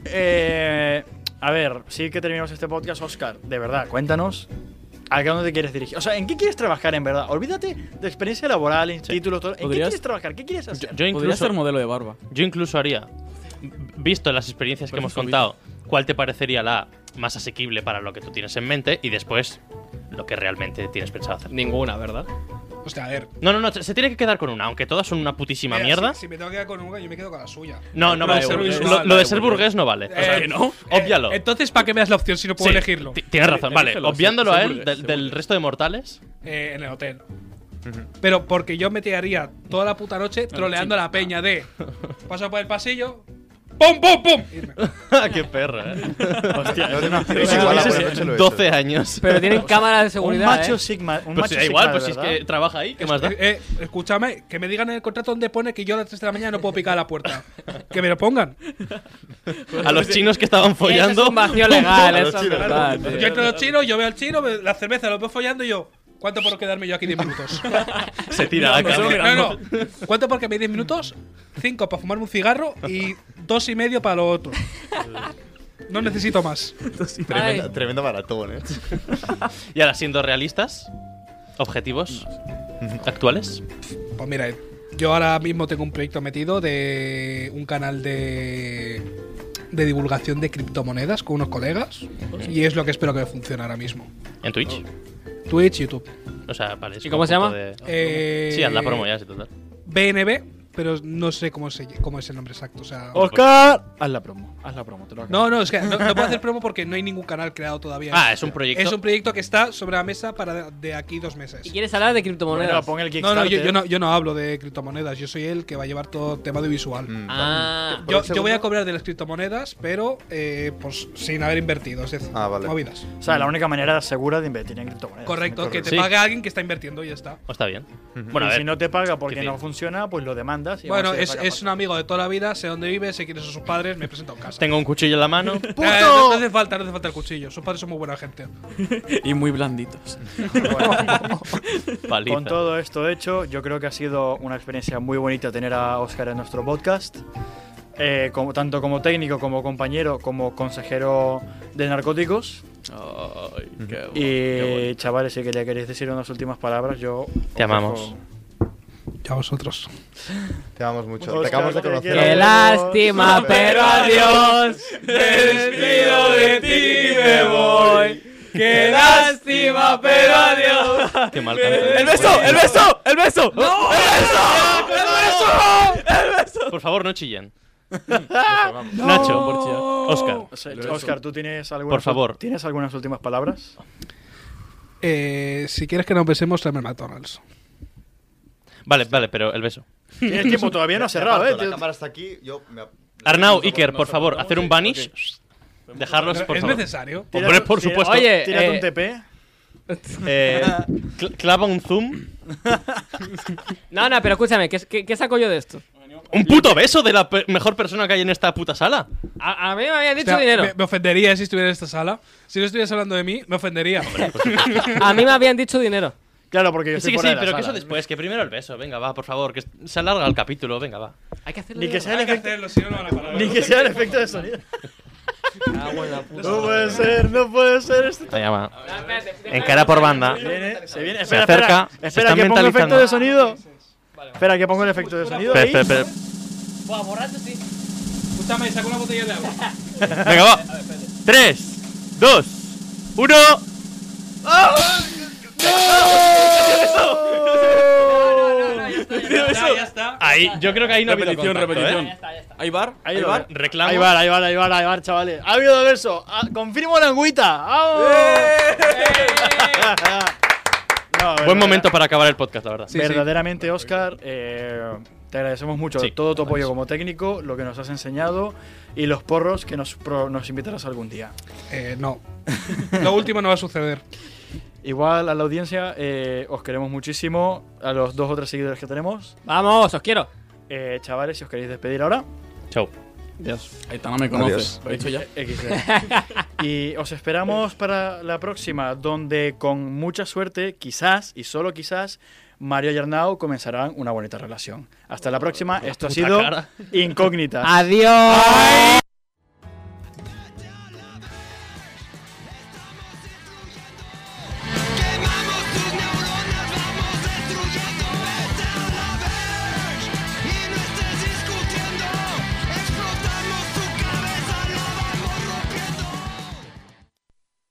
A: Eh, a ver, sí que terminamos este podcast, Oscar. De verdad, cuéntanos. ¿A qué dónde te quieres dirigir? O sea, ¿en qué quieres trabajar en verdad? Olvídate de experiencia laboral, en títulos, todo. ¿En qué
F: ¿Podrías-
A: quieres trabajar? ¿Qué quieres hacer?
D: Yo
F: Podría
D: incluso,
F: ser modelo de barba.
D: yo incluso haría, visto las experiencias que
F: Parece
D: hemos
F: un
D: contado, cuál te parecería la más asequible para lo que tú tienes en mente y después lo que realmente tienes pensado hacer.
B: Ninguna, ¿verdad?
C: O sea, a ver.
D: No, no, no, se tiene que quedar con una, aunque todas son una putísima
C: mira,
D: mierda.
C: Si, si me tengo que quedar con una, yo me quedo con la suya.
D: No, no
C: Lo de
D: vale.
C: ser
D: burgués.
C: visual,
D: Lo, lo de
C: vale,
D: ser
C: burgués.
D: burgués no vale. O sea,
C: Eh,
D: no.
C: Eh,
D: Óbvialo.
C: entonces, ¿para qué me das la opción si no puedo
D: Sí,
C: elegirlo?
D: ti- Tienes razón, vale.
F: Elígelo,
D: Obviándolo
F: ser-
D: a
F: ser
D: él
F: burgués,
D: del,
F: ser
D: del
F: burgués.
D: resto de mortales.
C: Eh, en el hotel. Pero porque yo me tiraría toda la puta noche troleando a la peña de paso por el pasillo, ¡Pum, pum, pum! Irme.
D: ¡Qué perra, eh! Pues
E: No te
A: sí,
E: imaginas igual a
A: sí,
E: por
A: sí,
E: la noche lo he hecho.
D: 12 años.
B: Pero tienen cámaras de
A: Un
B: seguridad.
A: macho
B: eh.
A: Sigma. Un
D: Pues
A: macho
D: sí, da igual,
A: Sigma, de
D: pues si es
A: verdad.
D: que trabaja ahí, ¿qué más da?
C: Eh, eh, escúchame, que me digan en el contrato donde pone que yo a las 3 de la mañana no puedo picar a la puerta. Que me lo pongan.
D: A los chinos que estaban
B: Eso es
D: follando.
B: un vacío legal,
E: A los
B: eso es
E: chinos.
B: verdad.
C: Yo
B: tío.
C: entro a los chinos, yo veo al chino, veo la cerveza, lo veo follando y yo. ¿Cuánto por quedarme yo aquí 10 minutos?
D: Se tira a la
C: No,
D: cama.
C: no. ¿Cuánto por quedarme 10 minutos? 5 para fumarme un cigarro y dos y medio para lo otro. No necesito más.
E: Tremenda, tremenda maratón, eh.
D: Y ahora, siendo realistas, objetivos actuales.
C: Pues mira, yo ahora mismo tengo un proyecto metido de un canal de, de divulgación de criptomonedas con unos colegas y es lo que espero que funcione ahora mismo.
D: En Twitch.
C: Twitch, YouTube.
D: O sea, vale. es
B: ¿Y cómo se
D: como un
B: llama?
D: poco de-
C: Eh,
D: Sí, haz la promo ya, sí, total.
C: BNB, pero no sé cómo, se, cómo es el nombre exacto. O sea,
D: Oh.
A: Oscar, haz la promo. Haz la promo, te lo acabo.
C: pues- no, no, es que no, no puedo hacer promo porque no hay ningún canal creado todavía.
D: Ah, es un proyecto.
C: Es un proyecto que está sobre la mesa para de, de aquí dos meses.
B: ¿Y quieres hablar de
A: Bueno,
B: criptomonedas?
A: pon el
C: No,
A: Kickstarter.
C: no, yo, yo no, yo no hablo de criptomonedas, yo soy el que va a llevar todo tema de visual.
E: Mm,
B: Ah,
E: ¿Por
C: Yo,
E: un
C: yo voy
E: segundo?
C: a cobrar de las criptomonedas, pero eh, pues sin haber invertido, es decir,
E: Ah, vale. Eh,
C: movidas.
A: O sea, la única manera segura de invertir en criptomonedas.
C: Correcto, que te
D: Sí.
C: pague alguien que está invirtiendo y ya está.
D: Oh, está bien.
A: Y
D: Bueno, a ver.
A: si no te paga porque
D: ¿qué
A: no
D: te-
A: funciona, pues lo demandas. y
C: bueno,
A: aún así
C: es,
A: te paga
C: es un
A: más.
C: amigo de toda la vida, sé dónde vive, sé quiénes son sus padres, me presenta a un casa.
D: Tengo un cuchillo en la mano.
C: Eh, no, no hace falta, no hace falta el cuchillo, sus padres son muy buena gente.
F: Y muy blanditos.
A: Bueno,
D: Paliza.
A: con todo esto hecho, yo creo que ha sido una experiencia muy bonita tener a Oscar en nuestro podcast. Eh, como, tanto como técnico, como compañero, como consejero de narcóticos.
F: Ay, qué bueno, qué bueno.
A: Y chavales, si que le queréis decir unas últimas palabras, yo. os
D: Te amamos.
A: dejo-
C: Ya vosotros.
E: Te amamos mucho.
A: Oscar,
E: te acabamos de
A: te
E: conocer.
A: quiero.
B: Qué lástima, pero adiós. Me despido de ti, me voy. Qué lástima, pero adiós.
D: Qué mal
B: Eh,
D: canto.
F: ¡El beso! ¡El beso! ¡El beso! ¡El beso!
D: Por favor, no chillen.
F: No,
D: Nacho,
F: por chillar.
D: Oscar.
A: O sea, Oscar, ¿tú tienes algunas,
D: Por favor.
A: ¿tienes algunas últimas palabras?
C: Eh, si quieres que nos besemos, tráeme el McDonald's.
D: Vale, vale, pero el beso.
A: Tienes tiempo, todavía no ha
E: Me
A: cerrado,
E: aparto,
A: eh.
E: La
A: tío.
E: cámara está aquí. Yo me...
D: Arnau,
E: Nos-
D: Iker,
E: nos
D: por favor,
E: apartamos,
D: hacer un
E: sí,
D: banish.
E: ok.
D: Dejarlos, por
C: ¿Es
D: favor.
C: necesario?
A: Tírate-
D: Hombre, por
A: tírate-
D: supuesto.
B: Oye,
A: tírate un
B: eh,
A: TP.
D: Eh, cl- clava un zoom.
B: No, no, pero escúchame, ¿qué, qué, qué saco yo de esto?
D: Un puto beso de la pe- mejor persona que hay en esta puta sala.
B: A, a mí me habían
C: O
B: dicho
C: sea,
B: dinero.
C: me, me ofendería si estuviera en esta sala. Si no estuvieras hablando de mí, me ofendería.
B: A mí me habían dicho dinero.
A: Claro, porque yo
D: Sí,
A: estoy
D: que sí,
A: fuera de la
D: pero que eso
A: sala.
D: después, que primero el beso. Venga, va, por favor, que se alarga el capítulo, venga, va.
B: Hay que hacerlo.
A: Ni que sea el
C: Hay que
A: efecto,
C: hacerlo, si no, no van a parar.
A: ni que sea el efecto de sonido.
B: Ah,
A: No puede ser, no puede ser este esto.
D: En cara por banda.
A: Viene, se viene.
D: Se
A: Espera,
D: acerca,
A: espera,
D: se está
A: espera que ponga el
D: mentalizando.
A: efecto de sonido. Espera que ponga el efecto de sonido. ahí.
C: Escúchame, saca una botella de agua.
D: Venga, va. 3, 2, 1.
C: Ya, ya está.
D: Ahí, yo creo que ahí no ha habido
F: Repetición,
D: contacto,
F: repetición.
D: ¿eh?
F: ¿Hay bar?
A: Ahí
F: ¿Hay
A: lo
F: bar?
A: veo.
D: Reclamo.
A: Ahí va, ahí va, ahí va, ahí va, chavales. Ha habido verso. Ah, confirmo la angüita. ¡Vamos! No,
D: ¡Eh! Buen
A: verdadera-
D: momento para acabar el podcast, la verdad.
C: Sí, sí.
A: Verdaderamente, Oscar, eh, te agradecemos mucho
D: Sí,
A: todo tu
D: gracias.
A: apoyo como técnico, lo que nos has enseñado y los porros que nos, pro- nos invitarás algún día.
C: Eh, no. Lo último no va a suceder.
A: Igual a la audiencia, eh, os queremos muchísimo, a los dos o tres seguidores que tenemos.
B: Vamos, os quiero.
A: Eh, chavales, si os queréis despedir ahora,
D: Chau.
F: Aitana me conoces. Lo he dicho ya.
A: XD. y os esperamos para la próxima, donde con mucha suerte, quizás y solo quizás, Mario y Arnau comenzarán una bonita relación. Hasta la próxima, esto ha
D: puta
A: sido
D: cara.
A: Incógnitas.
B: Adiós.
G: Quemamos tus neuronas, vamos destruyendo Vete a la verge y no estés discutiendo Explotamos tu cabeza, la vamos rompiendo